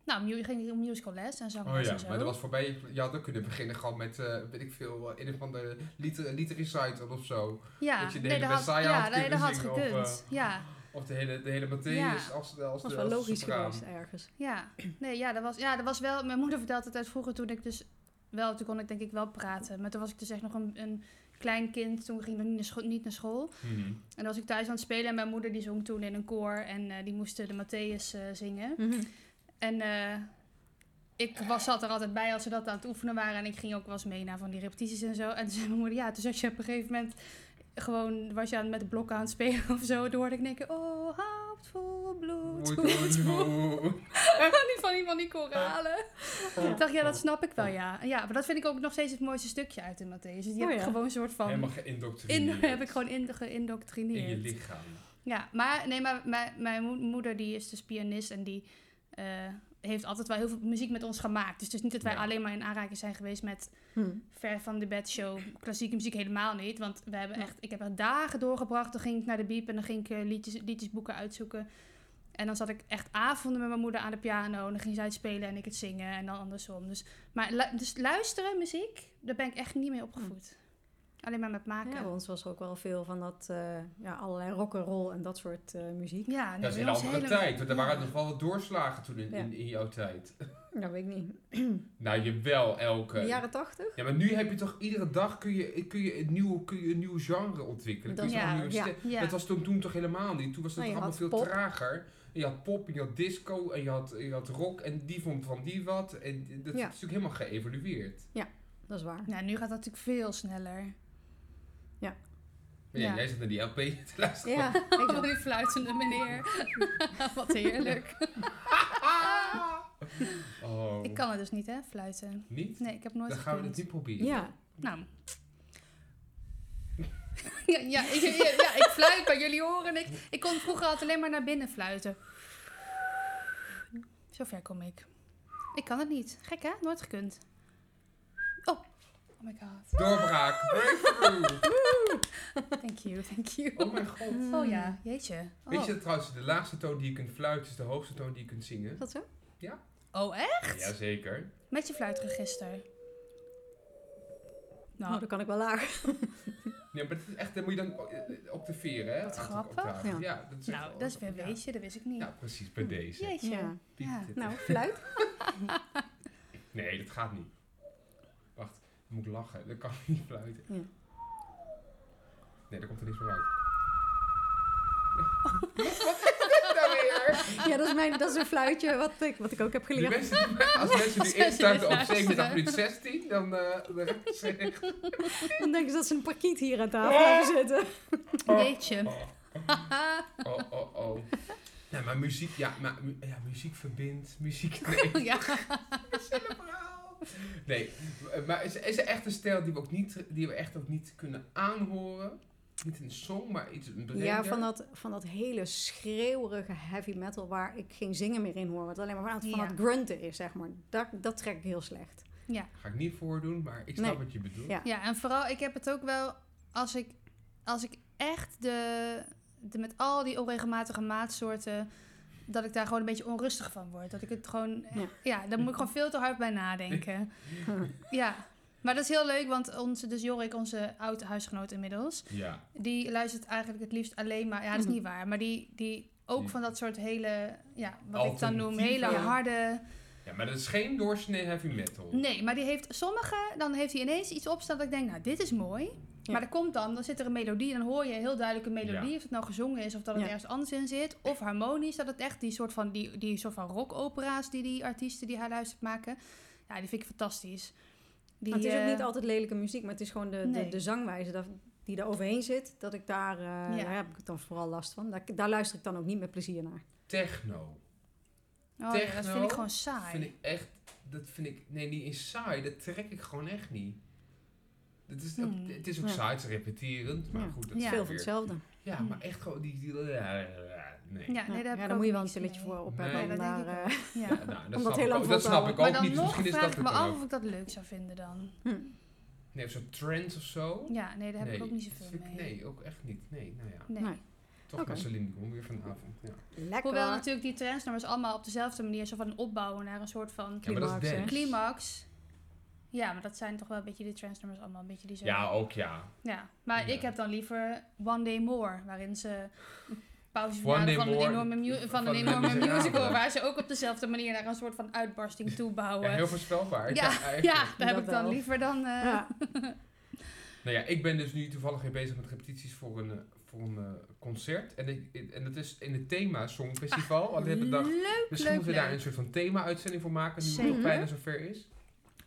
Speaker 2: Nou, mu- ging ik op musical les en zang
Speaker 3: Oh ja,
Speaker 2: en zo.
Speaker 3: maar dat was voorbij. Je had ook kunnen beginnen gewoon met, eh weet ik veel, eh, een of andere liter, liter recital of zo.
Speaker 2: ja,
Speaker 3: dat je de
Speaker 2: nee,
Speaker 3: hele
Speaker 2: dat had,
Speaker 3: Messiah
Speaker 2: ja, nee,
Speaker 3: had
Speaker 2: dat
Speaker 3: kunnen
Speaker 2: had
Speaker 3: zingen of, eh.
Speaker 2: gekund. Ja,
Speaker 3: Of de hele, de hele Matthäus
Speaker 2: Ja.
Speaker 3: als, als
Speaker 4: Dat was
Speaker 3: de
Speaker 4: wel
Speaker 3: als de
Speaker 4: logisch
Speaker 3: sopraan.
Speaker 4: geweest ergens.
Speaker 2: ja. Nee, ja, dat was, ja, dat was wel... Mijn moeder vertelde het uit vroeger toen ik dus wel... Toen kon ik denk ik wel praten. Maar toen was ik dus echt nog een, een klein kind. Toen ging ik nog niet naar, scho- niet naar school.
Speaker 3: Mhm.
Speaker 2: En dan was ik thuis aan het spelen en mijn moeder die zong toen in een koor. En eh, die moesten de Matthäus eh, zingen.
Speaker 4: Hm. Mhm.
Speaker 2: En eh, ik was, zat er altijd bij als ze dat aan het oefenen waren. En ik ging ook wel eens mee naar van die repetities en zo. En toen zei mijn moeder, ja, toen zat je op een gegeven moment... Gewoon was je aan, met de blokken aan het spelen of zo. Toen hoorde ik denken, oh, hart vol bloed.
Speaker 3: Oei,
Speaker 2: hoed
Speaker 3: oei,
Speaker 2: vol-
Speaker 3: oei.
Speaker 2: Niet van iemand die koralen. Ik dacht, ja, dat snap ik wel, ja. Ja, maar dat vind ik ook nog steeds het mooiste stukje uit de Matthäus. Dus die
Speaker 4: Oh,
Speaker 2: heb ik
Speaker 4: ja.
Speaker 2: gewoon een soort van...
Speaker 3: Helemaal
Speaker 2: In,
Speaker 3: geïndoctrineerd.
Speaker 2: heb ik gewoon in,
Speaker 3: in je
Speaker 2: geïndoctrineerd.
Speaker 3: lichaam.
Speaker 2: Ja, maar nee, maar mijn, mijn mo- moeder die is dus pianist en die eh, heeft altijd wel heel veel muziek met ons gemaakt. Dus het is niet dat wij
Speaker 3: Ja.
Speaker 2: alleen maar in aanraking zijn geweest met
Speaker 4: Hm.
Speaker 2: ver van de bedshow, klassieke muziek helemaal niet. Want we hebben
Speaker 4: Ja.
Speaker 2: echt, ik heb er dagen doorgebracht. Dan ging ik naar de biep en dan ging ik eh, liedjes, liedjesboeken uitzoeken. En dan zat ik echt avonden met mijn moeder aan de piano. En dan ging zij het spelen en ik het zingen en dan andersom. Dus, maar lu- dus luisteren, muziek, daar ben ik echt niet mee opgevoed. Alleen maar met maken.
Speaker 4: Ja, bij
Speaker 2: Ja,
Speaker 4: ons was er ook wel veel van dat, eh, ja, allerlei rock'n'roll en dat soort eh, muziek.
Speaker 2: nee,
Speaker 3: Dat is
Speaker 2: bij
Speaker 3: een
Speaker 2: ons
Speaker 3: andere
Speaker 2: helemaal-
Speaker 3: tijd. Want er waren nog wel wat doorslagen toen in,
Speaker 4: Ja.
Speaker 3: in, in jouw tijd.
Speaker 4: Dat weet ik niet.
Speaker 3: Nou, je wel elke.
Speaker 4: De jaren tachtig?
Speaker 3: Ja, maar nu heb je toch iedere dag kun je, kun je, een, nieuw, kun je een nieuw genre ontwikkelen. Kun je
Speaker 2: Dat-
Speaker 3: toch een
Speaker 4: ja,
Speaker 3: nieuwe
Speaker 4: ja,
Speaker 3: stijl-
Speaker 2: ja.
Speaker 3: Dat was toen, toen toch helemaal niet. Toen was het
Speaker 4: Nou,
Speaker 3: toch
Speaker 4: je
Speaker 3: allemaal veel
Speaker 4: had pop.
Speaker 3: trager. En je had pop, en je had disco, en je had, je had rock. En die vond van die wat. En dat
Speaker 4: Ja.
Speaker 3: is natuurlijk helemaal geëvolueerd.
Speaker 4: Dat is waar.
Speaker 2: Nou, nu gaat dat natuurlijk veel sneller.
Speaker 3: Maar ja,
Speaker 2: Ja.
Speaker 3: jij zit naar die LP te luisteren.
Speaker 4: Ja, ik dacht,
Speaker 2: Oh, die fluitende meneer. Wat heerlijk.
Speaker 3: Oh,
Speaker 2: Ik Oh, kan het dus niet, hè, fluiten.
Speaker 3: niet?
Speaker 2: Nee, ik heb nooit
Speaker 3: Dan gaan we
Speaker 2: gekund.
Speaker 3: het niet proberen.
Speaker 4: ja.
Speaker 2: Nou. ja, ja, ik, ja, ja, ik fluit, maar jullie horen ik. Ik kon vroeger altijd alleen maar naar binnen fluiten. Zo ver kom ik. Ik kan het niet. Gek, hè? Nooit gekund. Oh, oh my god.
Speaker 3: Doorbraak, breakthrough.
Speaker 2: Thank you, thank you.
Speaker 3: Oh mijn god.
Speaker 2: Oh ja, jeetje. Oh,
Speaker 3: Weet je dat trouwens, de laagste toon die je kunt fluiten is de hoogste toon die je kunt zingen?
Speaker 4: Is dat zo?
Speaker 2: oh hè?
Speaker 3: Jazeker.
Speaker 2: Met je fluitregister.
Speaker 4: Nou,
Speaker 3: Oh,
Speaker 2: Nou,
Speaker 4: dat kan ik wel laag.
Speaker 3: Ja, maar dat is echt, dan moet je dan eh, op de veren, hè?
Speaker 2: Wat
Speaker 3: Aantal
Speaker 2: grappig.
Speaker 3: octaven.
Speaker 4: Ja.
Speaker 3: Ja. dat is echt
Speaker 2: nou
Speaker 3: wel-
Speaker 2: dat is weer
Speaker 3: ja.
Speaker 2: weetje, dat wist ik niet.
Speaker 3: Nou, precies, bij deze.
Speaker 2: Jeetje.
Speaker 4: Ja.
Speaker 3: Piet,
Speaker 2: ja.
Speaker 3: dit-
Speaker 4: Nou, fluit.
Speaker 3: Nee, dat gaat niet. Wacht, dan moet ik lachen. Dan kan ik niet fluiten.
Speaker 4: Ja.
Speaker 3: Nee, daar komt er niks meer uit. Wat is dit nou weer?
Speaker 4: Ja, dat is, mijn, dat is een fluitje wat ik, wat ik ook heb
Speaker 3: Die
Speaker 4: geleerd.
Speaker 3: mensen, die- als mensen nu
Speaker 2: mensen dit
Speaker 3: instarten op 37
Speaker 2: luisteren.
Speaker 3: minuut 16, dan... eh dan is het echt-
Speaker 4: Dan denken ze dat ze een parkiet hier aan tafel hebben zitten.
Speaker 2: Jeetje.
Speaker 3: oh, oh, oh. Nee, maar muziek, ja, maar, mu- ja, muziek verbindt. Muziek... Nee.
Speaker 2: Ja.
Speaker 3: Nee, maar is, is er echt een stijl die we, ook niet, die we echt ook niet kunnen aanhoren? Niet in een song, maar iets een breder.
Speaker 4: Ja, van dat, van dat hele schreeuwerige heavy metal waar ik geen zingen meer in hoor. Wat alleen maar van, van
Speaker 2: Ja.
Speaker 4: dat grunten is, zeg maar. Dat, dat trek ik heel slecht.
Speaker 3: Ga ik niet voordoen, maar ik snap
Speaker 4: Nee.
Speaker 3: wat je bedoelt.
Speaker 4: Ja.
Speaker 2: ja, en vooral, ik heb het ook wel als ik, als ik echt de, de, met al die onregelmatige maatsoorten, dat ik daar gewoon een beetje onrustig van word. Dat ik het gewoon, ja,
Speaker 4: Ja.
Speaker 2: daar moet ik gewoon veel te hard bij nadenken. ja. Maar dat is heel leuk, want onze, dus Jorik, onze oude huisgenoot inmiddels,
Speaker 3: Ja.
Speaker 2: die luistert eigenlijk het liefst alleen maar, ja, dat is
Speaker 4: Mhm.
Speaker 2: niet waar, maar die, die ook
Speaker 3: Die-
Speaker 2: van dat soort hele, ja, wat ik dan noem, hele
Speaker 3: Alternatieve-
Speaker 2: harde.
Speaker 3: ja, maar dat is geen doorsnee heavy metal.
Speaker 2: Nee, maar die heeft sommige, dan heeft hij ineens iets opstaan dat ik denk, nou, dit is mooi.
Speaker 4: Ja.
Speaker 2: Maar er komt dan, dan zit er een melodie en dan hoor je heel duidelijk een melodie.
Speaker 3: Ja.
Speaker 2: Of het nou gezongen is of dat het
Speaker 4: Ja.
Speaker 2: ergens anders in zit. Of harmonisch, dat het echt die soort van, die, die soort van rockopera's die die artiesten die hij luistert maken. Ja, die vind ik fantastisch. Die,
Speaker 4: Maar het is
Speaker 2: eh,
Speaker 4: ook niet altijd lelijke muziek, maar het is gewoon de,
Speaker 2: Nee.
Speaker 4: de, de zangwijze. Dat, die daar overheen zit, dat ik daar, eh,
Speaker 2: Ja.
Speaker 4: daar heb ik dan vooral last van. Daar, daar luister ik dan ook niet met plezier naar.
Speaker 3: Techno.
Speaker 2: Oh, ja, dat vind
Speaker 3: Techno
Speaker 2: ik gewoon saai.
Speaker 3: Vind ik echt, dat vind ik, nee, niet eens saai, dat trek ik gewoon echt niet. Dat is,
Speaker 2: Hmm.
Speaker 3: Het is ook
Speaker 4: Ja.
Speaker 3: saai, het is repeterend, maar
Speaker 4: Ja.
Speaker 3: goed, dat
Speaker 2: Ja.
Speaker 3: is
Speaker 4: Veel
Speaker 3: ook
Speaker 4: van
Speaker 3: weer.
Speaker 4: hetzelfde.
Speaker 3: Ja, maar echt gewoon die, die nee.
Speaker 2: Ja, nee, daar heb
Speaker 4: ja,
Speaker 2: ik
Speaker 4: dan
Speaker 2: ook
Speaker 4: moet je wel een
Speaker 2: niks
Speaker 4: stilletje
Speaker 2: mee.
Speaker 4: voor op
Speaker 3: Nee.
Speaker 2: Ja, dat
Speaker 4: hebben. maar,
Speaker 2: denk ik
Speaker 4: eh,
Speaker 2: Ja.
Speaker 3: Ja, nou, dat,
Speaker 4: Om dat
Speaker 3: snap
Speaker 4: heel
Speaker 3: ik
Speaker 4: lang
Speaker 3: ook,
Speaker 4: vol
Speaker 3: dat
Speaker 4: te
Speaker 3: snap
Speaker 4: houden.
Speaker 3: ik
Speaker 2: Maar
Speaker 3: ook
Speaker 2: dan
Speaker 3: niet. dus
Speaker 2: nog
Speaker 3: Misschien is
Speaker 2: vraag
Speaker 3: dat
Speaker 2: ik
Speaker 3: het
Speaker 2: me
Speaker 3: dan
Speaker 2: af
Speaker 3: ook.
Speaker 2: of ik dat leuk zou vinden dan.
Speaker 3: Nee, of zo'n trends of zo.
Speaker 2: Ja, nee, daar heb ik
Speaker 3: Nee,
Speaker 2: ook niet
Speaker 3: dat
Speaker 2: zoveel
Speaker 3: vind ik-
Speaker 2: mee. Hm.
Speaker 3: Nee, ook echt niet. Nee, nou ja.
Speaker 2: Nee.
Speaker 4: Nee.
Speaker 3: Toch
Speaker 4: Oké.
Speaker 3: maar Celine Dion weer vanavond. Ja,
Speaker 4: lekker.
Speaker 2: Hoewel natuurlijk die trendsnummers allemaal op dezelfde manier zo van opbouwen naar een soort van
Speaker 3: ja maar dat is
Speaker 4: Climax, hè?
Speaker 3: dance.
Speaker 2: climax. Ja, maar dat zijn toch wel een beetje die trendsnummers allemaal een beetje die zo.
Speaker 3: Ja, ook ja.
Speaker 2: Ja, maar
Speaker 3: Ja.
Speaker 2: ik heb dan liever One Day More, waarin ze pauze
Speaker 3: One
Speaker 2: van,
Speaker 3: Day
Speaker 2: een
Speaker 3: More
Speaker 2: enorme, mu-
Speaker 3: van
Speaker 2: van een
Speaker 3: een
Speaker 2: enorme
Speaker 3: muzikaal.
Speaker 2: musical, waar ze ook op dezelfde manier naar een soort van uitbarsting toe
Speaker 3: Ja,
Speaker 2: bouwen.
Speaker 3: heel voorspelbaar.
Speaker 2: Ja,
Speaker 3: echt.
Speaker 2: Ja, daar heb
Speaker 4: Dat
Speaker 2: ik dan
Speaker 4: wel.
Speaker 2: liever dan. eh,
Speaker 4: Ja.
Speaker 3: Nou ja, ik ben dus nu toevallig weer bezig met repetities voor een, eh, voor een eh, concert. En, ik- ik- en dat is in het thema Songfestival. Alleen heb ik dacht,
Speaker 2: leuk,
Speaker 3: misschien
Speaker 2: leuk,
Speaker 3: moeten we daar
Speaker 2: leuk.
Speaker 3: een soort van thema-uitzending voor maken, nu het
Speaker 2: Zeker.
Speaker 3: nog bijna zover is.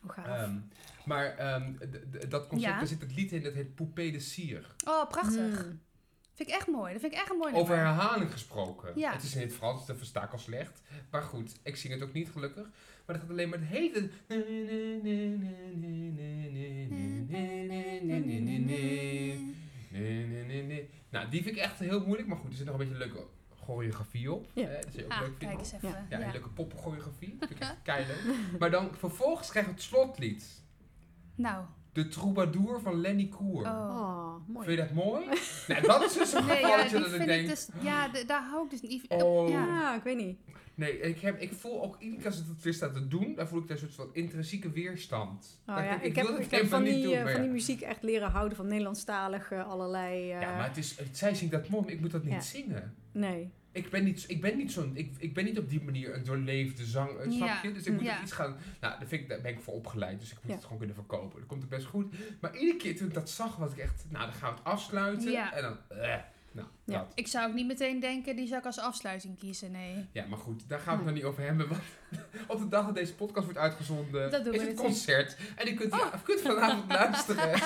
Speaker 4: Hoe gaaf.
Speaker 3: Ehm, maar ehm, d- d- dat concert,
Speaker 2: Ja.
Speaker 3: daar zit het lied in, dat heet Poupée de Sier.
Speaker 2: Oh, prachtig.
Speaker 4: Mm.
Speaker 2: Vind ik echt mooi. Dat vind ik echt een mooi nummer.
Speaker 3: Over herhaling gesproken.
Speaker 2: Ja.
Speaker 3: Het is in het Frans, dus dat versta ik al slecht. Maar goed, ik zing het ook niet gelukkig. Maar dat gaat alleen maar het hele... Nee, nee, nee, nee. Nou, die vind ik echt heel moeilijk. Maar goed, er zit nog een beetje leuke choreografie op.
Speaker 4: Ja.
Speaker 3: Eh, dat is ook
Speaker 2: Ah,
Speaker 3: leuk
Speaker 2: kijk
Speaker 3: vind.
Speaker 2: eens even. Ja,
Speaker 3: Ja, een leuke poppenchoreografie. Vind ik echt keileuk. Maar dan vervolgens krijgen we het slotlied.
Speaker 2: Nou,
Speaker 3: De troubadour van Lenny Koer.
Speaker 2: oh.
Speaker 4: Oh, mooi.
Speaker 3: Vind je dat mooi? nou, dat is dus een
Speaker 2: Nee, ja,
Speaker 3: gevalletje
Speaker 2: die
Speaker 3: dat ik
Speaker 2: vind ik
Speaker 3: denk...
Speaker 2: dus, ja, d- daar hou ik dus niet
Speaker 3: Oh.
Speaker 2: Ja.
Speaker 4: Ja, ik weet niet.
Speaker 3: Nee, ik, heb, ik voel ook iedere keer als ik dat weer sta te doen, dan voel ik daar een soort van intrinsieke weerstand.
Speaker 4: Oh,
Speaker 3: Dan
Speaker 4: ja.
Speaker 3: denk
Speaker 4: Ik heb,
Speaker 3: wil dit
Speaker 4: ik heb
Speaker 3: even
Speaker 4: van,
Speaker 3: niet
Speaker 4: die,
Speaker 3: doen,
Speaker 4: eh,
Speaker 3: maar
Speaker 4: van die
Speaker 3: ja.
Speaker 4: muziek echt leren houden van Nederlandstalig eh, allerlei. eh,
Speaker 3: Ja, maar het is, het- zij zingt dat mooi, maar ik moet dat niet
Speaker 4: Ja.
Speaker 3: zingen.
Speaker 4: Nee.
Speaker 3: Ik ben niet, ik ben niet zo'n, ik, ik ben niet op die manier een doorleefde zanger,
Speaker 2: Ja.
Speaker 3: snap je? Dus ik moet
Speaker 2: Ja.
Speaker 3: er iets gaan, nou, daar, vind ik, daar ben ik voor opgeleid, dus ik moet
Speaker 4: Ja.
Speaker 3: het gewoon kunnen verkopen. Dat komt het best goed. Maar iedere keer toen ik dat zag, was ik echt, nou, dan gaan we het afsluiten.
Speaker 2: Ja.
Speaker 3: En dan, eh, nou,
Speaker 4: Ja.
Speaker 3: dat.
Speaker 2: Ik zou ook niet meteen denken, die zou ik als afsluiting kiezen, nee.
Speaker 3: Ja, maar goed, daar gaan we het nog niet over hebben. Want op de dag dat deze podcast wordt uitgezonden,
Speaker 2: Dat doen we dus Oh.
Speaker 3: is het
Speaker 2: natuurlijk.
Speaker 3: concert. En u kunt, u kunt vanavond luisteren.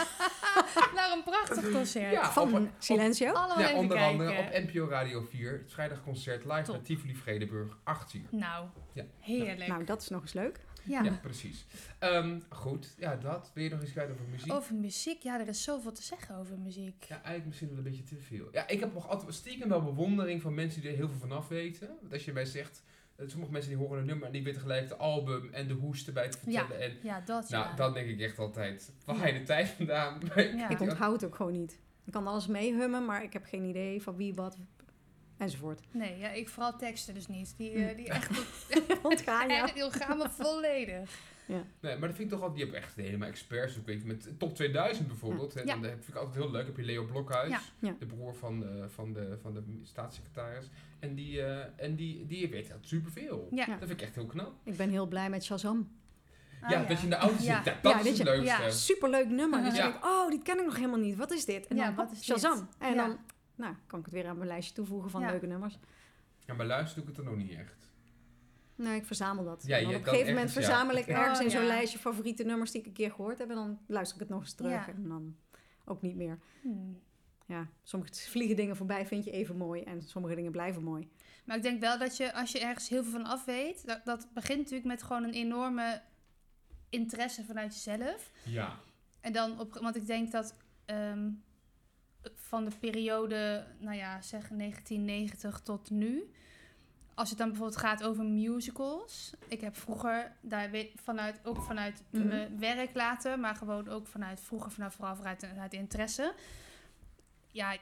Speaker 2: Naar een prachtig concert.
Speaker 3: Ja,
Speaker 4: van
Speaker 3: Ah, op- op-
Speaker 4: Silencio.
Speaker 2: Allemaal
Speaker 3: Ja,
Speaker 2: even
Speaker 3: onder
Speaker 2: kijken.
Speaker 3: andere op NPO Radio 4. Het vrijdagconcert live
Speaker 2: Top.
Speaker 3: naar Tivoli Vredenburg, 8 uur.
Speaker 2: Nou,
Speaker 3: Ja.
Speaker 2: heerlijk.
Speaker 4: nou, dat is nog eens leuk.
Speaker 2: ja.
Speaker 3: Ja, precies. Ehm, goed, ja, dat. Wil je nog iets kwijt over muziek?
Speaker 2: Over muziek, ja, er is zoveel te zeggen over muziek.
Speaker 3: Ja, eigenlijk misschien wel een beetje te veel. Ja, ik heb nog altijd stiekem wel bewondering van mensen die er heel veel vanaf weten. Want als je mij zegt, eh, sommige mensen die horen een nummer en die weten gelijk de album en de hoesten bij te
Speaker 2: Ja.
Speaker 3: vertellen. En
Speaker 2: Ja, dat
Speaker 3: nou,
Speaker 2: ja.
Speaker 3: dan denk ik echt altijd, waar haal je de tijd vandaan? Maar ik-
Speaker 2: Ja.
Speaker 4: Ik onthoud ook gewoon niet. Ik kan alles meehummen, maar ik heb geen idee van wie wat enzovoort.
Speaker 2: Nee, ja, ik vooral teksten dus niet. Die, eh, die echt,
Speaker 4: Ontgaan, Hm. Ah, ja.
Speaker 2: echt die gaan me volledig.
Speaker 3: Nee, maar dat vind ik toch altijd, je hebt echt helemaal experts. Ook weet je, met top 2000 bijvoorbeeld. hè,
Speaker 2: Ja.
Speaker 3: dan vind ik altijd heel leuk. Heb je Leo Blokhuis,
Speaker 2: Ja.
Speaker 4: Ja.
Speaker 3: de broer van de, van de, van de staatssecretaris. En die, eh, en die, die weet echt superveel.
Speaker 2: Ja.
Speaker 3: Dat vind ik echt heel knap.
Speaker 4: Ik ben heel blij met Shazam.
Speaker 2: Ah,
Speaker 3: ja, dat je in de auto zit,
Speaker 2: Ja.
Speaker 3: ja, dat
Speaker 4: Ja,
Speaker 3: is
Speaker 4: weet
Speaker 3: het
Speaker 4: je,
Speaker 3: leukste.
Speaker 2: ja.
Speaker 4: Superleuk nummer. Dus
Speaker 3: Ja.
Speaker 4: ik denk, oh, dit ken ik nog helemaal niet. Wat is dit? En
Speaker 2: Ja,
Speaker 4: dan,
Speaker 2: wat
Speaker 4: hop,
Speaker 2: is dit?
Speaker 4: Shazam. En
Speaker 2: Ja.
Speaker 4: dan nou, kan ik het weer aan mijn lijstje toevoegen van
Speaker 2: Ja.
Speaker 4: leuke nummers.
Speaker 3: Ja, maar luister doe ik het dan nog niet echt.
Speaker 4: Nee, ik verzamel dat.
Speaker 3: Ja,
Speaker 4: En dan
Speaker 3: je-
Speaker 4: op een
Speaker 3: dat
Speaker 4: gegeven moment
Speaker 3: ergens, ja.
Speaker 4: verzamel ik
Speaker 2: Oh,
Speaker 4: ergens in
Speaker 2: ja.
Speaker 4: zo'n lijstje favoriete nummers die ik een keer gehoord heb. En dan luister ik het nog eens terug.
Speaker 2: Ja.
Speaker 4: En dan ook niet meer.
Speaker 2: Hm.
Speaker 4: Ja, sommige vliegen dingen voorbij vind je even mooi. En sommige dingen blijven mooi.
Speaker 2: Maar ik denk wel dat je, als je ergens heel veel van af weet, dat, dat begint natuurlijk met gewoon een enorme interesse vanuit jezelf.
Speaker 3: Ja.
Speaker 2: En dan op, want ik denk dat ehm, van de periode, nou ja, zeg 1990 tot nu. Als het dan bijvoorbeeld gaat over musicals. Ik heb vroeger, daar weet, vanuit, ook vanuit
Speaker 4: Mhm.
Speaker 2: mijn werk later, maar gewoon ook vanuit vroeger, vanaf vooral vanuit, vanuit interesse. Ja,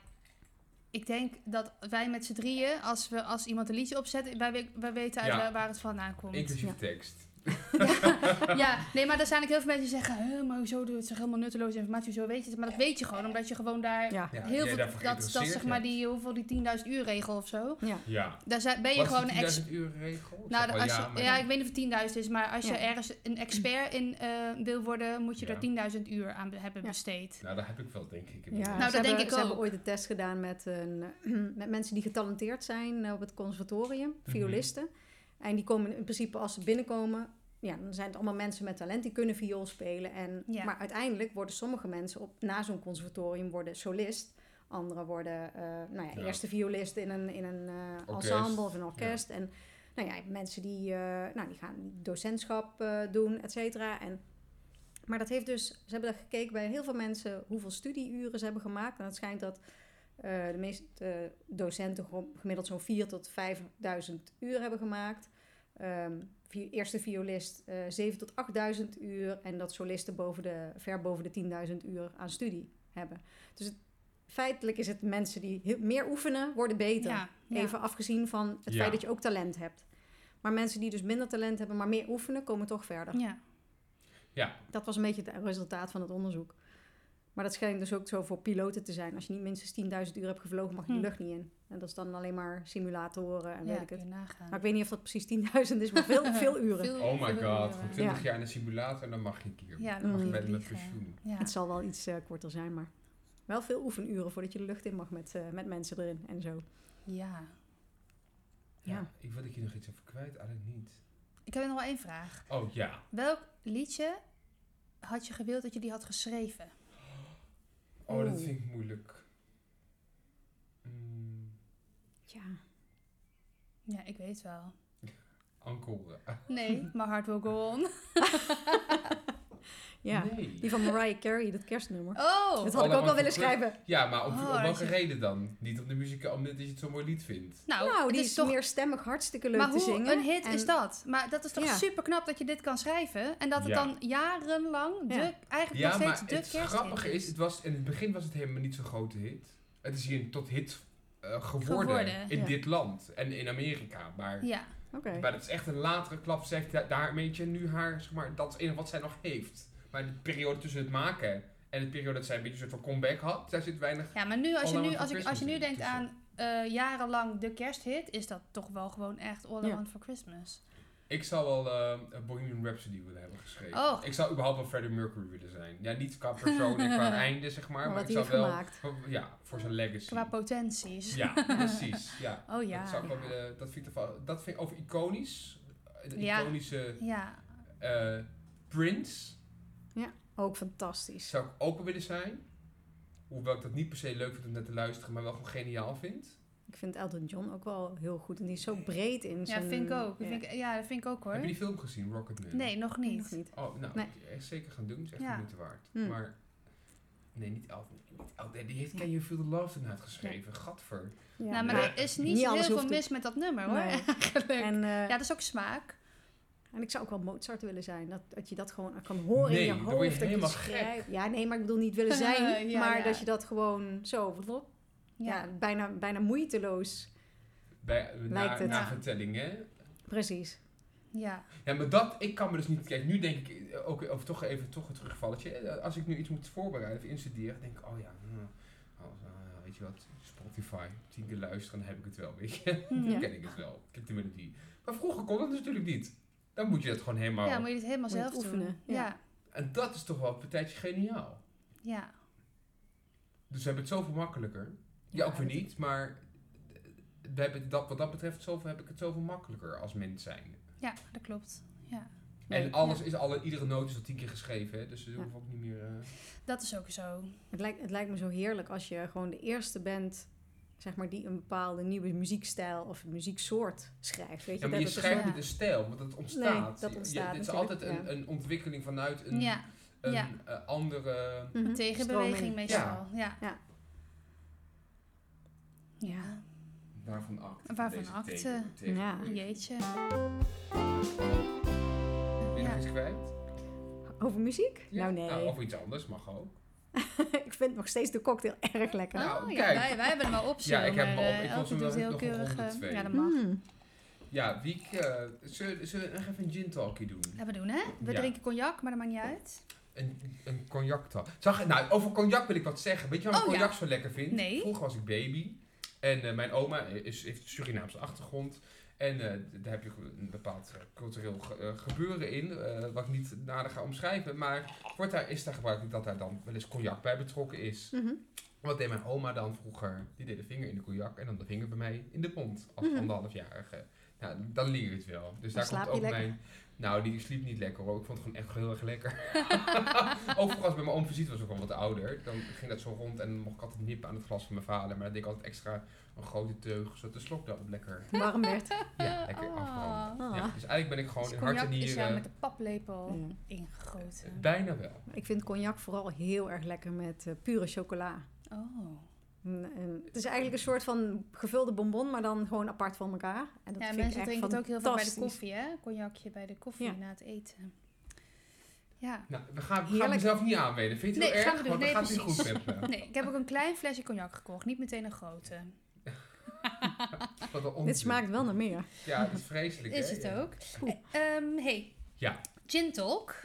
Speaker 2: ik denk dat wij met z'n drieën, als, we, als iemand een liedje opzet, wij, we- wij weten uit
Speaker 3: Ja.
Speaker 2: waar, waar het vandaan komt.
Speaker 3: Inclusief
Speaker 4: Ja.
Speaker 3: tekst.
Speaker 2: Ja, nee, maar er zijn ook heel veel mensen die zeggen, "Hè, maar hoezo doe je het? Het is helemaal nutteloze informatie, hoezo weet je het? Maar dat weet je gewoon, omdat je gewoon daar
Speaker 4: Ja,
Speaker 3: Ja,
Speaker 2: heel
Speaker 3: jij
Speaker 2: veel,
Speaker 3: daarvoor
Speaker 2: dat, dat zeg
Speaker 3: geïnteresseerd
Speaker 2: maar
Speaker 3: bent.
Speaker 2: die, hoeveel, die 10.000 uur regel of zo.
Speaker 4: ja.
Speaker 3: Ja.
Speaker 2: Daar zijn, ben je
Speaker 3: Wat is
Speaker 2: gewoon
Speaker 3: die
Speaker 2: een ex-
Speaker 3: 1000 uur regel? Ik zeg
Speaker 2: Nou,
Speaker 3: wel
Speaker 2: als je,
Speaker 3: ja,
Speaker 2: ja,
Speaker 3: maar-
Speaker 2: ik weet niet of het 10.000 is, maar als je
Speaker 4: Ja.
Speaker 2: ergens een expert in eh, wil worden, moet je
Speaker 3: Ja.
Speaker 2: er 10.000 uur aan be- hebben
Speaker 4: Ja.
Speaker 2: besteed.
Speaker 3: Nou, daar heb ik wel, denk ik.
Speaker 4: Ja,
Speaker 3: inmiddels.
Speaker 4: ze
Speaker 2: Nou, dat
Speaker 4: hebben-
Speaker 2: denk ik
Speaker 4: Ze hebben
Speaker 2: ook.
Speaker 4: ooit een test gedaan met, een, eh, met mensen die eh,
Speaker 3: Mhm.
Speaker 4: getalenteerd zijn op het conservatorium, violisten. En die komen in principe, als ze binnenkomen, ja, dan zijn het allemaal mensen met talent die kunnen viool spelen. En,
Speaker 2: Ja.
Speaker 4: Maar uiteindelijk worden sommige mensen op, na zo'n conservatorium worden solist. Anderen worden eh, nou ja,
Speaker 3: Ja.
Speaker 4: eerste violist in een, in een eh,
Speaker 3: Orkest.
Speaker 4: ensemble of een orkest. En nou ja, mensen die, eh, nou, die gaan docentschap eh, doen, et cetera. En, maar dat heeft dus, ze hebben daar gekeken bij heel veel mensen hoeveel studieuren ze hebben gemaakt. En het schijnt dat eh, de meeste eh, docenten gro- gemiddeld zo'n 4.000 tot 5.000 uur hebben gemaakt. Ehm, vi- eerste violist eh 7.000 tot 8.000 uur. En dat solisten boven de, ver boven de 10.000 uur aan studie hebben. Dus het, feitelijk is het mensen die heel- meer oefenen, worden beter.
Speaker 2: Ja, ja.
Speaker 4: Even afgezien van het
Speaker 3: Ja.
Speaker 4: feit dat je ook talent hebt. Maar mensen die dus minder talent hebben, maar meer oefenen, komen toch verder.
Speaker 2: Ja.
Speaker 3: Ja,
Speaker 4: Dat was een beetje het resultaat van het onderzoek. Maar dat schijnt dus ook zo voor piloten te zijn. Als je niet minstens 10.000 uur hebt gevlogen, mag je de
Speaker 2: Hm.
Speaker 4: lucht niet in. En dat is dan alleen maar simulatoren en weet ik
Speaker 2: kun
Speaker 4: het.
Speaker 2: je nagaan.
Speaker 4: Maar ik weet niet of dat precies 10.000 is, maar veel, veel uren.
Speaker 2: Veel-
Speaker 3: oh my
Speaker 2: veel
Speaker 3: god.
Speaker 2: uren.
Speaker 3: Voor 20 jaar in een simulator en dan mag je een keer.
Speaker 2: Ja,
Speaker 3: dan mag je
Speaker 4: Mm.
Speaker 3: met, met
Speaker 2: Vliegen.
Speaker 3: pensioen.
Speaker 2: Ja.
Speaker 4: Het zal wel iets eh, korter zijn, maar wel veel oefenuren voordat je de lucht in mag met, eh, met mensen erin en zo.
Speaker 2: ja.
Speaker 3: Ja.
Speaker 4: Ja.
Speaker 3: Ik wil dat je nog iets over kwijt, eigenlijk niet.
Speaker 2: Ik heb nog wel één vraag.
Speaker 3: Oh ja.
Speaker 2: Welk liedje had je gewild dat je die had geschreven?
Speaker 3: Oh, dat
Speaker 4: Oeh.
Speaker 3: vind ik moeilijk. Mm,
Speaker 4: Ja,
Speaker 2: Ja, ik weet wel.
Speaker 3: Encore.
Speaker 2: Nee, My Heart Will Go On.
Speaker 4: ja.
Speaker 3: Nee.
Speaker 4: die van Mariah Carey, dat kerstnummer.
Speaker 2: Oh!
Speaker 4: dat had ik ook
Speaker 3: Allemaal
Speaker 4: wel willen
Speaker 3: voor kerst.
Speaker 4: schrijven.
Speaker 3: Ja, maar op,
Speaker 2: Oh,
Speaker 3: op
Speaker 2: dat
Speaker 3: welke
Speaker 2: je-
Speaker 3: reden dan? Niet op de muziek, omdat je het zo'n mooi lied vindt.
Speaker 2: Nou,
Speaker 4: Nou,
Speaker 2: het
Speaker 4: die
Speaker 2: is
Speaker 4: is
Speaker 2: toch...
Speaker 4: meer stemmig hartstikke leuk
Speaker 2: maar
Speaker 4: te
Speaker 2: hoe
Speaker 4: zingen.
Speaker 2: een hit
Speaker 4: En-
Speaker 2: is dat? Maar dat is toch
Speaker 4: Ja.
Speaker 2: super knap dat je dit kan schrijven. En dat het
Speaker 3: Ja.
Speaker 2: dan jarenlang, de,
Speaker 4: Ja.
Speaker 2: eigenlijk
Speaker 3: Ja,
Speaker 2: nog
Speaker 3: maar
Speaker 2: steeds de
Speaker 3: het
Speaker 2: kersthit
Speaker 3: grappige is, het was, in het begin was het helemaal niet zo'n grote hit. Het is hier een tot hit eh, geworden,
Speaker 2: Geworden,
Speaker 3: in
Speaker 4: ja.
Speaker 3: dit land en in Amerika. Maar,
Speaker 2: Ja,
Speaker 4: Oké.
Speaker 3: maar dat is echt een latere klap. Ze heeft da- daar een beetje nu haar, zeg maar, dat is het enige wat zij nog heeft. Maar de periode tussen het maken en de periode dat zij een beetje een soort van comeback had, daar zit weinig...
Speaker 2: ja maar nu, als, je
Speaker 3: All
Speaker 2: nu,
Speaker 3: I Want
Speaker 2: als,
Speaker 3: for
Speaker 2: ik, als je nu
Speaker 3: Christmas
Speaker 2: denkt aan eh, jarenlang de kersthit, is dat toch wel gewoon echt All I
Speaker 4: Ja.
Speaker 2: Want For Christmas.
Speaker 3: Ik zou wel eh, een Bohemian Rhapsody willen hebben geschreven.
Speaker 2: Oh.
Speaker 3: Ik zou überhaupt wel Freddie Mercury willen zijn. Ja, niet qua persoon en qua einde, zeg maar.
Speaker 4: Maar
Speaker 3: Maar,
Speaker 4: wat
Speaker 3: ik
Speaker 4: hij
Speaker 3: zou
Speaker 4: heeft
Speaker 3: wel...
Speaker 4: gemaakt.
Speaker 3: Ja, voor zijn legacy.
Speaker 2: Qua potenties.
Speaker 3: Ja, precies. Ja.
Speaker 2: Oh ja.
Speaker 3: Dat, zou ik wel
Speaker 4: Ja.
Speaker 3: willen- dat vind ik, ervan- dat vind ik over iconisch. De
Speaker 2: Ja.
Speaker 3: iconische
Speaker 2: Ja,
Speaker 3: eh, Prince
Speaker 4: Ook fantastisch.
Speaker 3: zou ik open willen zijn. Hoewel ik dat niet per se leuk vind om net te luisteren, maar wel gewoon geniaal vind.
Speaker 4: Ik vind Elton John ook wel heel goed. En die is zo breed in
Speaker 2: ja
Speaker 4: zijn...
Speaker 2: vind ik ook.
Speaker 4: Ja.
Speaker 2: Vind ik, ja, dat vind ik ook hoor.
Speaker 3: Heb je die film gezien, Rocketman?
Speaker 2: Nee, nog
Speaker 4: Nee,
Speaker 2: niet.
Speaker 4: nog niet.
Speaker 3: Oh, nou,
Speaker 4: Nee.
Speaker 3: moet je echt zeker gaan doen. Het is echt
Speaker 2: Ja. Hm.
Speaker 3: de moeite waard.
Speaker 4: Hmm.
Speaker 3: Maar, nee, niet Elton. Niet Elton. Die heeft Can You Feel The Love Tonight geschreven. Gadver.
Speaker 4: Ja.
Speaker 2: Nou, maar
Speaker 3: Nee.
Speaker 2: er is niet,
Speaker 4: Niet
Speaker 2: zo heel
Speaker 4: alles
Speaker 2: veel
Speaker 4: hoeft
Speaker 2: mis met dat nummer hoor,
Speaker 4: Nee.
Speaker 2: eigenlijk.
Speaker 4: En, eh,
Speaker 2: ja, dat is ook smaak.
Speaker 4: en ik zou ook wel Mozart willen zijn. Dat, dat je dat gewoon kan horen
Speaker 3: Nee,
Speaker 4: in
Speaker 3: dan
Speaker 4: je
Speaker 3: word je
Speaker 4: hoofd. dat
Speaker 3: helemaal
Speaker 4: het
Speaker 3: gek.
Speaker 4: schrijft. Ja, nee, maar ik bedoel niet willen zijn.
Speaker 2: Ja,
Speaker 4: maar
Speaker 2: ja.
Speaker 4: dat je dat gewoon zo... Ja.
Speaker 2: Ja.
Speaker 4: bijna, bijna moeiteloos.
Speaker 3: Bij, na,
Speaker 4: Lijkt het.
Speaker 3: na
Speaker 2: Ja.
Speaker 3: vertelling, hè?
Speaker 4: Precies.
Speaker 2: ja.
Speaker 3: Ja, maar dat, ik kan me dus niet... Kijk, nu denk ik, eh, ook, of toch even toch een teruggevalletje. eh, Als ik nu iets moet voorbereiden of instuderen, denk ik, oh ja, hm, als, ah, weet je wat, Spotify, tien keer luisteren, dan heb ik het wel, weet je. Dan
Speaker 4: Hm, Ja.
Speaker 3: ken ik het wel, ik heb de melodie. Maar vroeger kon dat natuurlijk niet. Dan moet je dat gewoon helemaal...
Speaker 2: Ja, moet je dit helemaal
Speaker 4: Moet je
Speaker 2: zelf
Speaker 4: het oefenen,
Speaker 2: doen.
Speaker 4: ja.
Speaker 2: Ja.
Speaker 3: En dat is toch wel een partijtje geniaal.
Speaker 2: Ja.
Speaker 3: Dus we hebben het zoveel makkelijker. Ja, ook weer
Speaker 4: dat-
Speaker 3: niet, maar eh, we hebben het dat, wat dat betreft zoveel, heb ik het zoveel makkelijker als mens zijn.
Speaker 2: ja, dat klopt. Ja.
Speaker 4: Nee,
Speaker 3: En alles
Speaker 4: ja.
Speaker 3: is, alle, iedere noot is al tien keer geschreven, hè, dus je
Speaker 4: Ja.
Speaker 3: hoeft ook niet meer... eh,
Speaker 2: Dat is ook zo.
Speaker 4: Het lijkt, het lijkt me zo heerlijk als je gewoon de eerste bent... Zeg maar, die een bepaalde nieuwe muziekstijl of muzieksoort schrijft. Weet je?
Speaker 3: Ja, maar je
Speaker 4: dat dus het
Speaker 3: schrijft
Speaker 2: ja.
Speaker 3: niet een stijl, want dat ontstaat.
Speaker 4: dat ontstaat
Speaker 3: Het is
Speaker 4: natuurlijk,
Speaker 3: altijd een,
Speaker 4: ja.
Speaker 3: een ontwikkeling vanuit een,
Speaker 2: ja.
Speaker 3: een
Speaker 2: ja.
Speaker 3: eh, andere...
Speaker 4: Mhm.
Speaker 2: Tegenbeweging
Speaker 4: Stroming.
Speaker 2: meestal. Ja.
Speaker 4: Ja.
Speaker 2: Ja.
Speaker 3: Waarvan act.
Speaker 2: Waarvan
Speaker 3: Deze
Speaker 2: act,
Speaker 3: teken-
Speaker 2: eh,
Speaker 3: teken-
Speaker 4: ja.
Speaker 3: Ben
Speaker 2: Jeetje.
Speaker 3: je nog
Speaker 2: Ja.
Speaker 3: iets kwijt?
Speaker 4: Over muziek?
Speaker 3: Ja?
Speaker 4: Nou, nee.
Speaker 3: of iets anders, mag ook.
Speaker 4: ik vind nog steeds de cocktail erg lekker.
Speaker 3: Nou,
Speaker 2: oh, ja,
Speaker 3: kijk.
Speaker 2: wij, wij hebben hem al op. zo,
Speaker 3: Ja, ik heb hem
Speaker 2: maar,
Speaker 3: al op.
Speaker 2: eh,
Speaker 3: Ik
Speaker 2: Elke doet
Speaker 3: was hem wel
Speaker 2: heel
Speaker 3: nog een
Speaker 2: keurig.
Speaker 3: ronde
Speaker 2: eh,
Speaker 3: twee.
Speaker 2: ja, dat mag.
Speaker 4: Mm.
Speaker 3: Ja, wie ik, eh, zullen, zullen we nog even een gin talkie doen?
Speaker 2: Ja, we doen hè? We
Speaker 3: Ja.
Speaker 2: drinken cognac, maar dat maakt niet uit.
Speaker 3: Een, een cognac talk. Zag, je- nou, over cognac wil ik wat zeggen. Weet je waarom
Speaker 2: Oh,
Speaker 3: ik cognac
Speaker 2: ja.
Speaker 3: zo lekker vind?
Speaker 2: Nee.
Speaker 3: Vroeger was ik baby. En eh, mijn oma is, heeft een Surinaamse achtergrond. En eh, d- daar heb je een bepaald eh, cultureel ge- eh, gebeuren in. eh, wat ik niet nader ga omschrijven. Maar wordt daar, is daar gebruikelijk dat daar dan wel eens cognac bij betrokken is.
Speaker 4: Mhm.
Speaker 3: Wat deed mijn oma dan vroeger? Die deed de vinger in de koejak en dan de vinger bij mij in de mond. Als
Speaker 4: Mhm.
Speaker 3: anderhalfjarige. Nou, dan leer je het wel. Dus
Speaker 4: Dan
Speaker 3: daar komt
Speaker 4: slaap je
Speaker 3: ook
Speaker 4: lekker.
Speaker 3: mijn... Nou, die sliep niet lekker hoor. Ik vond het gewoon echt heel erg lekker. Overigens, als bij mijn oom visite was ook al wat ouder. Dan ging dat zo rond en dan mocht ik altijd nippen aan het glas van mijn vader. Maar dan deed ik altijd extra een grote teug, zodat de slok daarop lekker,
Speaker 4: Warm werd.
Speaker 3: ja, lekker
Speaker 2: Ah.
Speaker 3: afbrandde. Ja,
Speaker 4: Ah.
Speaker 3: dus eigenlijk ben ik gewoon
Speaker 2: Dus
Speaker 3: in hart en
Speaker 2: cognac is jou met
Speaker 3: nieren...
Speaker 2: de paplepel
Speaker 4: Ja.
Speaker 2: ingegoten.
Speaker 3: Bijna wel.
Speaker 4: Ik vind cognac vooral heel erg lekker met eh, pure chocola.
Speaker 2: Oh.
Speaker 4: En, en het is eigenlijk een soort van gevulde bonbon, maar dan gewoon apart van elkaar. En dat
Speaker 2: ja,
Speaker 4: vind
Speaker 2: mensen
Speaker 4: ik echt
Speaker 2: drinken het ook heel veel bij de
Speaker 4: fantastisch.
Speaker 2: koffie, hè? Cognacje bij de koffie
Speaker 4: Ja.
Speaker 2: na het eten. Ja.
Speaker 3: Nou, we gaan, we gaan
Speaker 4: Heerlijk.
Speaker 3: mezelf niet aanmeden. Vind je het
Speaker 2: Nee,
Speaker 3: heel
Speaker 2: gaan we doen.
Speaker 3: erg? Want dan
Speaker 2: Nee,
Speaker 3: gaat het niet
Speaker 2: precies.
Speaker 3: goed met me.
Speaker 2: Nee, ik heb ook een klein flesje cognac gekocht. Niet meteen een grote.
Speaker 3: Wat een onzin.
Speaker 4: Dit smaakt wel naar meer.
Speaker 3: Ja, dat is vreselijk.
Speaker 2: Is
Speaker 3: hè?
Speaker 2: het
Speaker 3: Ja.
Speaker 2: ook. Eh, ehm, hey.
Speaker 3: Ja.
Speaker 2: Gin Talk.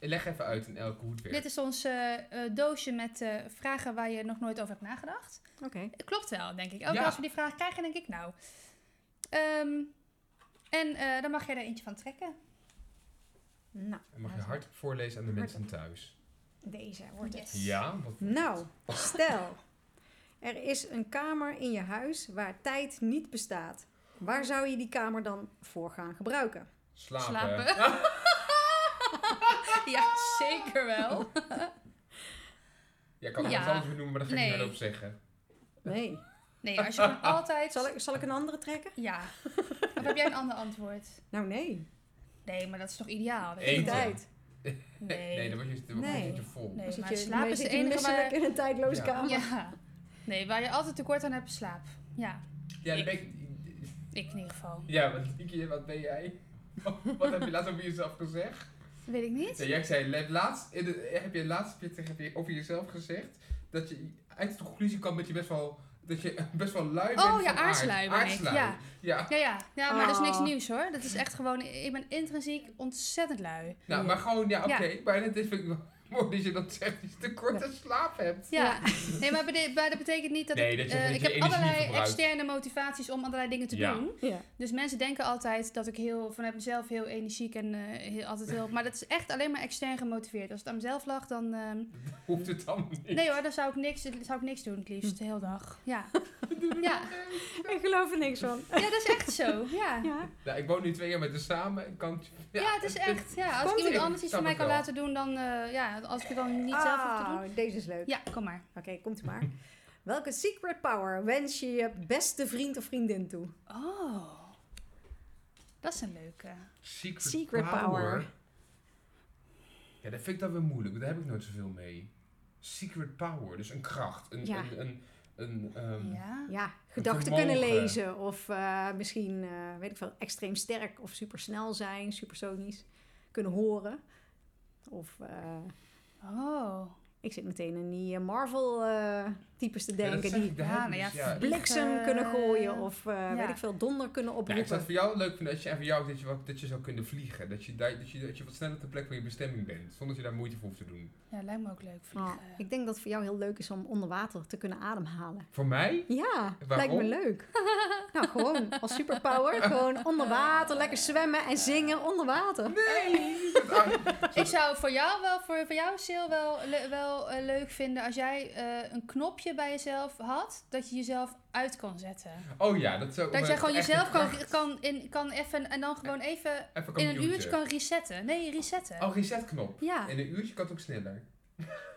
Speaker 3: Leg even uit in elke hoed weer.
Speaker 2: Dit is ons eh, eh, doosje met eh, vragen waar je nog nooit over hebt nagedacht.
Speaker 4: Oké.
Speaker 2: Klopt wel, denk ik. Elke
Speaker 3: Ja.
Speaker 2: keer als we die vraag krijgen, denk ik nou. Ehm, en eh, dan mag jij er eentje van trekken.
Speaker 4: Nou,
Speaker 3: En mag je hard voorlezen aan de mensen thuis.
Speaker 4: deze wordt het.
Speaker 2: Yes.
Speaker 3: Ja, wat
Speaker 2: Hm.
Speaker 4: Nou, stel. Er is een kamer in je huis waar tijd niet bestaat. Waar zou je die kamer dan voor gaan gebruiken?
Speaker 3: slapen.
Speaker 2: ja, zeker wel.
Speaker 3: Ja, ik kan het
Speaker 2: Ja.
Speaker 3: iets anders benoemen, maar dat ga ik
Speaker 2: Nee.
Speaker 3: niet meer op zeggen.
Speaker 4: Nee.
Speaker 2: Nee, als je gewoon altijd...
Speaker 4: Zal ik, zal ik een andere trekken?
Speaker 2: Ja. Of heb jij een ander antwoord?
Speaker 4: Nou, nee.
Speaker 2: Nee, maar dat is toch ideaal? weet je?
Speaker 4: Geen
Speaker 3: Eentje.
Speaker 4: tijd.
Speaker 2: Nee.
Speaker 3: Nee, dan word je, dan word je
Speaker 4: Nee.
Speaker 3: een beetje vol.
Speaker 2: Nee,
Speaker 4: Dan zit
Speaker 2: maar
Speaker 4: je,
Speaker 2: slaap
Speaker 4: dan
Speaker 2: is
Speaker 4: zit
Speaker 2: de
Speaker 4: je
Speaker 2: enige
Speaker 4: misselijk
Speaker 2: waar...
Speaker 4: in een tijdloze
Speaker 3: Ja.
Speaker 4: kamer.
Speaker 2: Ja. Nee, waar je altijd tekort aan hebt, is slaap. Ja,
Speaker 3: Ja, dan ben ik...
Speaker 2: ik in ieder geval.
Speaker 3: Ja, wat, denk je, wat ben jij? Wat heb je laatst over jezelf gezegd?
Speaker 2: Weet ik niet.
Speaker 3: Ja, jij zei la- laatst, in de- heb je laatst heb je tegen- heb je over jezelf gezegd dat je uit de conclusie kwam dat je best wel, dat je best wel lui bent.
Speaker 2: Oh ja,
Speaker 3: van aard.
Speaker 2: aardslui ben ik,
Speaker 3: Aardslui.
Speaker 2: ja.
Speaker 3: Ja.
Speaker 2: Ja, ja. ja maar dat is niks
Speaker 4: Oh.
Speaker 2: nieuws hoor. Dat is echt gewoon... Ik ben intrinsiek ontzettend lui.
Speaker 3: Nou, maar gewoon, ja, oké.
Speaker 2: Ja.
Speaker 3: Maar dit vind ik wel mooi dat je dan zegt dat je tekort aan slaap hebt.
Speaker 2: Ja. Nee, maar, bede- maar dat betekent niet dat
Speaker 3: Nee,
Speaker 2: ik...
Speaker 3: dat je-
Speaker 2: eh,
Speaker 3: dat
Speaker 2: ik
Speaker 3: je
Speaker 2: heb
Speaker 3: energie
Speaker 2: allerlei
Speaker 3: verbruikt.
Speaker 2: externe motivaties om allerlei dingen te
Speaker 3: Ja.
Speaker 2: doen.
Speaker 4: Ja.
Speaker 2: Dus mensen denken altijd dat ik heel, vanuit mezelf heel energiek en eh, heel, altijd heel... Maar dat is echt alleen maar extern gemotiveerd. Als het aan mezelf lag, dan... ehm,
Speaker 3: Hoeft het dan niet?
Speaker 2: Nee hoor, dan zou ik niks, dan zou ik niks doen het liefst, de hele dag. Ja. ja.
Speaker 4: Ik geloof er niks van.
Speaker 2: ja, dat is echt zo. Ja, ja,
Speaker 4: Ja.
Speaker 3: Nou, ik woon nu twee jaar met haar samen. Ik kan het-
Speaker 2: het is echt. Ja, als
Speaker 3: Komt
Speaker 2: ik iemand
Speaker 3: ie.
Speaker 2: anders iets
Speaker 3: Snap
Speaker 2: van mij
Speaker 3: ik
Speaker 2: kan
Speaker 3: wel.
Speaker 2: laten doen, dan eh, ja, als ik het dan niet zelf hoef te doen.
Speaker 4: Ah, deze is leuk.
Speaker 2: Ja, kom maar.
Speaker 4: Oké, komt maar. Welke secret power wens je je beste vriend of vriendin toe?
Speaker 2: Oh, dat is een leuke.
Speaker 3: Secret,
Speaker 4: Secret power.
Speaker 3: Ja, dat vind ik dan weer moeilijk. want Daar heb ik nooit zoveel mee. Secret power, dus een kracht. Een,
Speaker 4: Ja.
Speaker 3: een, een, een, ehm,
Speaker 2: Ja.
Speaker 4: Ja, gedachten
Speaker 3: vermogen.
Speaker 4: kunnen lezen. Of eh, misschien, eh, weet ik veel, extreem sterk of supersnel zijn, supersonisch. Kunnen horen. Of, eh,
Speaker 2: Oh.
Speaker 4: ik zit meteen aan die eh, Marvel-types
Speaker 3: ja,
Speaker 4: te
Speaker 3: dat
Speaker 4: denken.
Speaker 3: zeg
Speaker 4: die
Speaker 3: ik, daar
Speaker 2: Ja,
Speaker 3: heb ik
Speaker 2: nou ja,
Speaker 3: dus, ja,
Speaker 4: bliksem
Speaker 2: Eh,
Speaker 4: kunnen gooien. Of, eh,
Speaker 2: ja.
Speaker 4: weet ik veel, donder kunnen
Speaker 3: Ja, Nou, ik zou het
Speaker 4: oproepen.
Speaker 3: voor jou leuk vinden als je, en voor jou ook dat je, wat, dat je zou kunnen vliegen. Dat je, daar- dat, je, dat je wat sneller op de plek van je bestemming bent. Zonder dat je daar moeite voor hoeft te doen.
Speaker 2: Ja, lijkt me ook leuk
Speaker 4: Oh,
Speaker 2: vliegen.
Speaker 4: ik denk dat het voor jou heel leuk is om onder water te kunnen ademhalen.
Speaker 3: Voor mij?
Speaker 4: Ja, lijkt
Speaker 3: Waarom?
Speaker 4: me leuk. nou, gewoon als superpower. Gewoon onder water, lekker zwemmen en zingen onder water.
Speaker 3: Nee! Dat- ah,
Speaker 2: Ik zou voor jou wel, voor, voor jou Sil, wel, le- wel eh, leuk vinden als jij eh, een knopje bij jezelf had, dat je jezelf uit kan zetten.
Speaker 3: oh ja, dat zou...
Speaker 2: Dat jij gewoon
Speaker 3: echt
Speaker 2: jezelf
Speaker 3: een
Speaker 2: kan,
Speaker 3: kracht.
Speaker 2: kan, in, kan even en dan gewoon even
Speaker 3: Even
Speaker 2: in een
Speaker 3: computer.
Speaker 2: uurtje kan resetten. Nee, resetten.
Speaker 3: Oh, resetknop.
Speaker 2: ja.
Speaker 3: In een uurtje kan het ook sneller.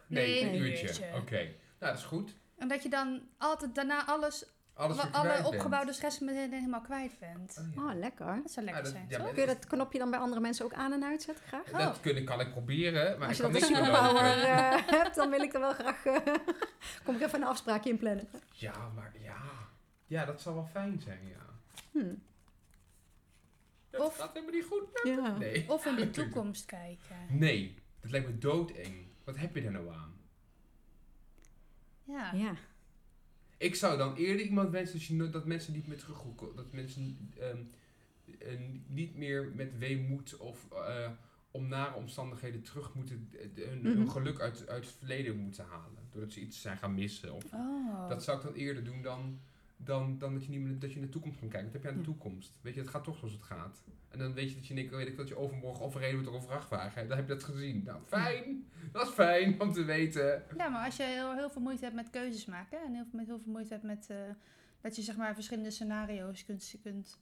Speaker 2: Nee,
Speaker 3: een
Speaker 2: een
Speaker 3: uurtje.
Speaker 2: uurtje.
Speaker 3: Oké. Nou, dat is goed.
Speaker 2: Omdat je dan altijd daarna alles,
Speaker 3: Alles
Speaker 2: wa-
Speaker 3: weer
Speaker 2: alle
Speaker 3: kwijt
Speaker 2: opgebouwde
Speaker 3: bent.
Speaker 2: stress meteen helemaal kwijt bent.
Speaker 3: Oh, ja.
Speaker 4: Oh, lekker.
Speaker 2: Dat zou
Speaker 3: Ah,
Speaker 2: lekker
Speaker 3: dat-
Speaker 2: zijn,
Speaker 3: ja,
Speaker 2: toch?
Speaker 3: maar
Speaker 4: Kun je dat knopje dan bij andere mensen ook aan en uitzetten, graag? Oh.
Speaker 3: Dat
Speaker 2: Oh.
Speaker 3: kunnen, kan ik proberen, maar
Speaker 4: Als je
Speaker 3: ik
Speaker 4: dat
Speaker 3: kan
Speaker 4: als
Speaker 3: niks beloven.
Speaker 4: superpower eh hebt, dan wil ik er wel graag... eh, kom ik even een afspraakje in plannen.
Speaker 3: Ja, maar ja. Ja, dat zou wel fijn zijn, ja.
Speaker 4: Hm.
Speaker 3: Dat
Speaker 2: Hmm. Of- Oh.
Speaker 3: gaat helemaal niet goed.
Speaker 4: Ja.
Speaker 3: Nee.
Speaker 2: Of in de toekomst kijken.
Speaker 3: Nee, dat lijkt me doodeng. Wat heb je daar nou aan?
Speaker 2: Ja.
Speaker 4: Ja.
Speaker 3: Ik zou dan eerder iemand wensen dat, je, no- dat mensen niet meer terughoeken. Dat mensen ehm, eh, niet meer met weemoed of eh, om nare omstandigheden terug moeten, eh, de- hun, hun
Speaker 4: Mhm.
Speaker 3: geluk uit, uit het verleden moeten halen. Doordat ze iets zijn gaan missen. Of,
Speaker 2: Oh.
Speaker 3: Dat zou ik dan eerder doen dan Dan, dan dat, je niet meer, dat je naar de toekomst gaat kijken. Wat heb je aan de toekomst? Weet je, het gaat toch zoals het gaat. En dan weet je dat je, denkt, weet ik, dat je overmorgen overreden wordt door een vrachtwagen. Dan heb je dat gezien. Nou, fijn. Dat is fijn om te weten.
Speaker 2: Ja, maar als je heel, heel veel moeite hebt met keuzes maken en heel, met heel veel moeite hebt met eh, dat je zeg maar verschillende scenario's kunt, kunt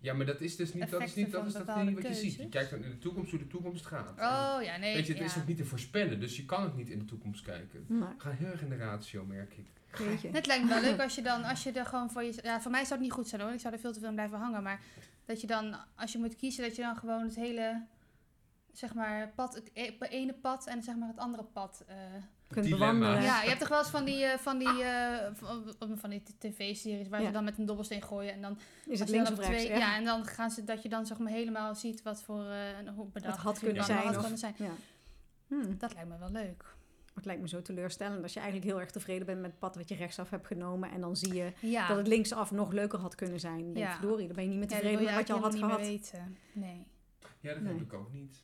Speaker 3: Ja, maar dat is dus niet, dat is
Speaker 2: Effecten
Speaker 3: niet, dat
Speaker 2: van
Speaker 3: is, dat
Speaker 2: bepaalde
Speaker 3: niet wat je ziet. Je
Speaker 2: keuzes.
Speaker 3: kijkt dan in de toekomst hoe de toekomst gaat.
Speaker 2: Oh ja, nee.
Speaker 3: En weet je, het
Speaker 2: ja.
Speaker 3: is ook niet te voorspellen. Dus je kan het niet in de toekomst kijken.
Speaker 4: Maar,
Speaker 3: Ik ga heel erg in de ratio, merk ik.
Speaker 4: weet je.
Speaker 2: Het lijkt me wel leuk als je dan, als je er gewoon voor je. Ja, voor mij zou het niet goed zijn hoor. Ik zou er veel te veel aan blijven hangen. Maar dat je dan, als je moet kiezen, dat je dan gewoon het hele, zeg maar, pad, het e- ene pad en zeg maar het andere pad. eh.
Speaker 4: kunt
Speaker 3: dilemma's.
Speaker 4: bewandelen.
Speaker 2: Ja, je hebt toch wel eens van die, eh, van die, eh, van, van die tv-series waar
Speaker 4: Ja.
Speaker 2: ze dan met een dobbelsteen gooien en dan.
Speaker 4: Is het
Speaker 2: als je dan
Speaker 4: links of
Speaker 2: op
Speaker 4: rechts?
Speaker 2: twee- ja, en dan gaan ze dat je dan zeg maar helemaal ziet wat voor eh, een hoe bedacht
Speaker 4: had
Speaker 2: het
Speaker 4: kunnen
Speaker 2: plan
Speaker 4: zijn
Speaker 2: had
Speaker 3: of-
Speaker 2: kunnen zijn.
Speaker 4: Ja. Hmm.
Speaker 2: Dat lijkt me wel leuk.
Speaker 4: Het lijkt me zo teleurstellend als je eigenlijk heel erg tevreden bent met het pad wat je rechtsaf hebt genomen. En dan zie je
Speaker 2: Ja.
Speaker 4: dat het linksaf nog leuker had kunnen zijn. Dan Denk,
Speaker 2: Ja.
Speaker 4: verdorie, dan ben je niet meer
Speaker 2: Ja, dat
Speaker 4: tevreden
Speaker 2: wil
Speaker 4: met wat je al had
Speaker 2: eigenlijk
Speaker 4: gehad.
Speaker 2: helemaal niet meer weten. Nee.
Speaker 3: Ja, dat
Speaker 4: Nee.
Speaker 3: heb ik ook niet.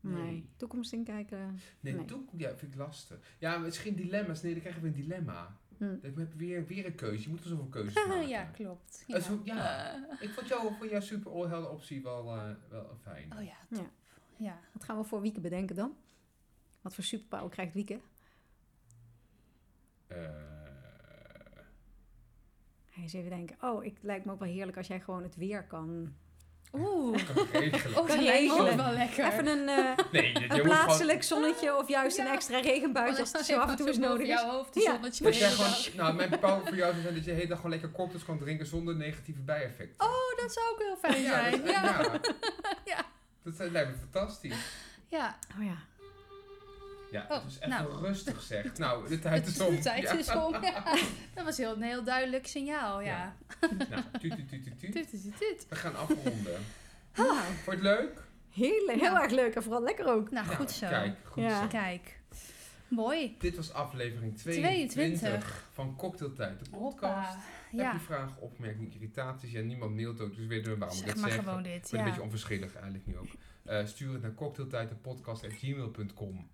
Speaker 4: Nee.
Speaker 3: Nee.
Speaker 4: Toekomst inkijken.
Speaker 3: Nee,
Speaker 4: Nee.
Speaker 3: Toe, ja, vind ik lastig. Ja, misschien dilemma's. Nee, dan krijgen we een dilemma.
Speaker 4: Hm.
Speaker 3: Dan heb je weer, weer een keuze. Je moet er zoveel keuzes
Speaker 4: Nou,
Speaker 3: maken.
Speaker 2: ja, klopt. Ja. Eh,
Speaker 3: Het is ook- ja. Ik vond jouw vond jouw super all optie wel, eh, wel fijn.
Speaker 2: oh ja,
Speaker 4: Ja.
Speaker 2: top. Ja.
Speaker 4: Wat gaan we voor Wieke bedenken dan? Wat voor superpower krijgt Wieke?
Speaker 3: Eh,
Speaker 4: Hij is even denken, oh, ik het lijkt me ook wel heerlijk als jij gewoon het weer kan.
Speaker 2: Oeh.
Speaker 3: kan ik
Speaker 2: Oh,
Speaker 3: regelen.
Speaker 4: Kan
Speaker 2: dat lijkt me ook
Speaker 4: regelen.
Speaker 2: wel lekker.
Speaker 4: Even een, eh,
Speaker 3: Nee, je, je
Speaker 4: een
Speaker 3: moet gewoon...
Speaker 4: plaatselijk zonnetje of juist een
Speaker 2: Ja.
Speaker 4: extra
Speaker 2: Oh,
Speaker 4: regenbuitje als het zo af en toe eens nodig is.
Speaker 2: jouw hoofd
Speaker 4: een
Speaker 2: ja.
Speaker 4: zonnetje
Speaker 3: Dat jij gewoon, nou, mijn power voor jou zou zijn dat je de hele dag gewoon lekker cocktails kan drinken zonder negatieve bijeffecten.
Speaker 2: Oh, dat zou ook heel fijn zijn.
Speaker 3: dat,
Speaker 2: Ja.
Speaker 3: ja.
Speaker 2: Ja.
Speaker 3: Dat eh, lijkt me fantastisch.
Speaker 2: ja.
Speaker 4: Oh ja.
Speaker 3: Ja,
Speaker 2: Oh,
Speaker 3: het is echt
Speaker 2: nou.
Speaker 3: wel rustig zeg. Nou, de tijd
Speaker 2: Het
Speaker 3: is om.
Speaker 2: De tijd
Speaker 3: Ja.
Speaker 2: is om. Ja. Dat was heel, een heel duidelijk signaal, ja.
Speaker 3: Nou, tuut, tuut, tuut, tuut, tuut.
Speaker 2: Dit is het, dit.
Speaker 3: We gaan afronden.
Speaker 4: Nou,
Speaker 3: Vond je het leuk?
Speaker 4: heel, heel
Speaker 2: Ja.
Speaker 4: erg leuk en vooral lekker ook.
Speaker 2: Nou, goed zo.
Speaker 3: Kijk, goed
Speaker 4: Ja.
Speaker 3: zo.
Speaker 2: Kijk. Mooi.
Speaker 3: Dit was aflevering 22,
Speaker 2: 22.
Speaker 3: van Cocktailtijd, de podcast.
Speaker 2: Hoppa.
Speaker 3: Heb
Speaker 2: Ja,
Speaker 3: je vragen, opmerkingen, irritaties? Ja, niemand mailt ook, dus weten we waarom we
Speaker 2: zeg
Speaker 3: dat
Speaker 2: maar
Speaker 3: zeggen.
Speaker 2: gewoon
Speaker 3: Ik
Speaker 2: dit.
Speaker 3: ben een beetje
Speaker 2: Ja.
Speaker 3: onverschillig eigenlijk nu ook. Eh, stuur het naar cocktailtijdpodcast.gmail.com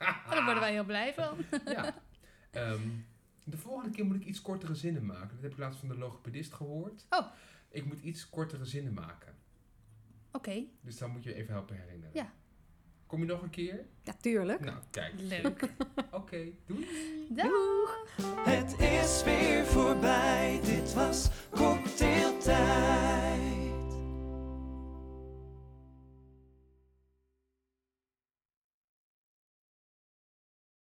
Speaker 2: Oh, daar worden wij heel blij van.
Speaker 3: Ja. Ehm, de volgende keer moet ik iets kortere zinnen maken. Dat heb ik laatst van de logopedist gehoord.
Speaker 2: Oh.
Speaker 3: Ik moet iets kortere zinnen maken.
Speaker 2: Oké,
Speaker 3: Dus dan moet je even helpen herinneren.
Speaker 2: Ja.
Speaker 3: Kom je nog een keer?
Speaker 4: Ja, tuurlijk.
Speaker 3: Nou, kijk.
Speaker 2: leuk.
Speaker 3: Oké, doei.
Speaker 2: Doei.
Speaker 1: Het is weer voorbij.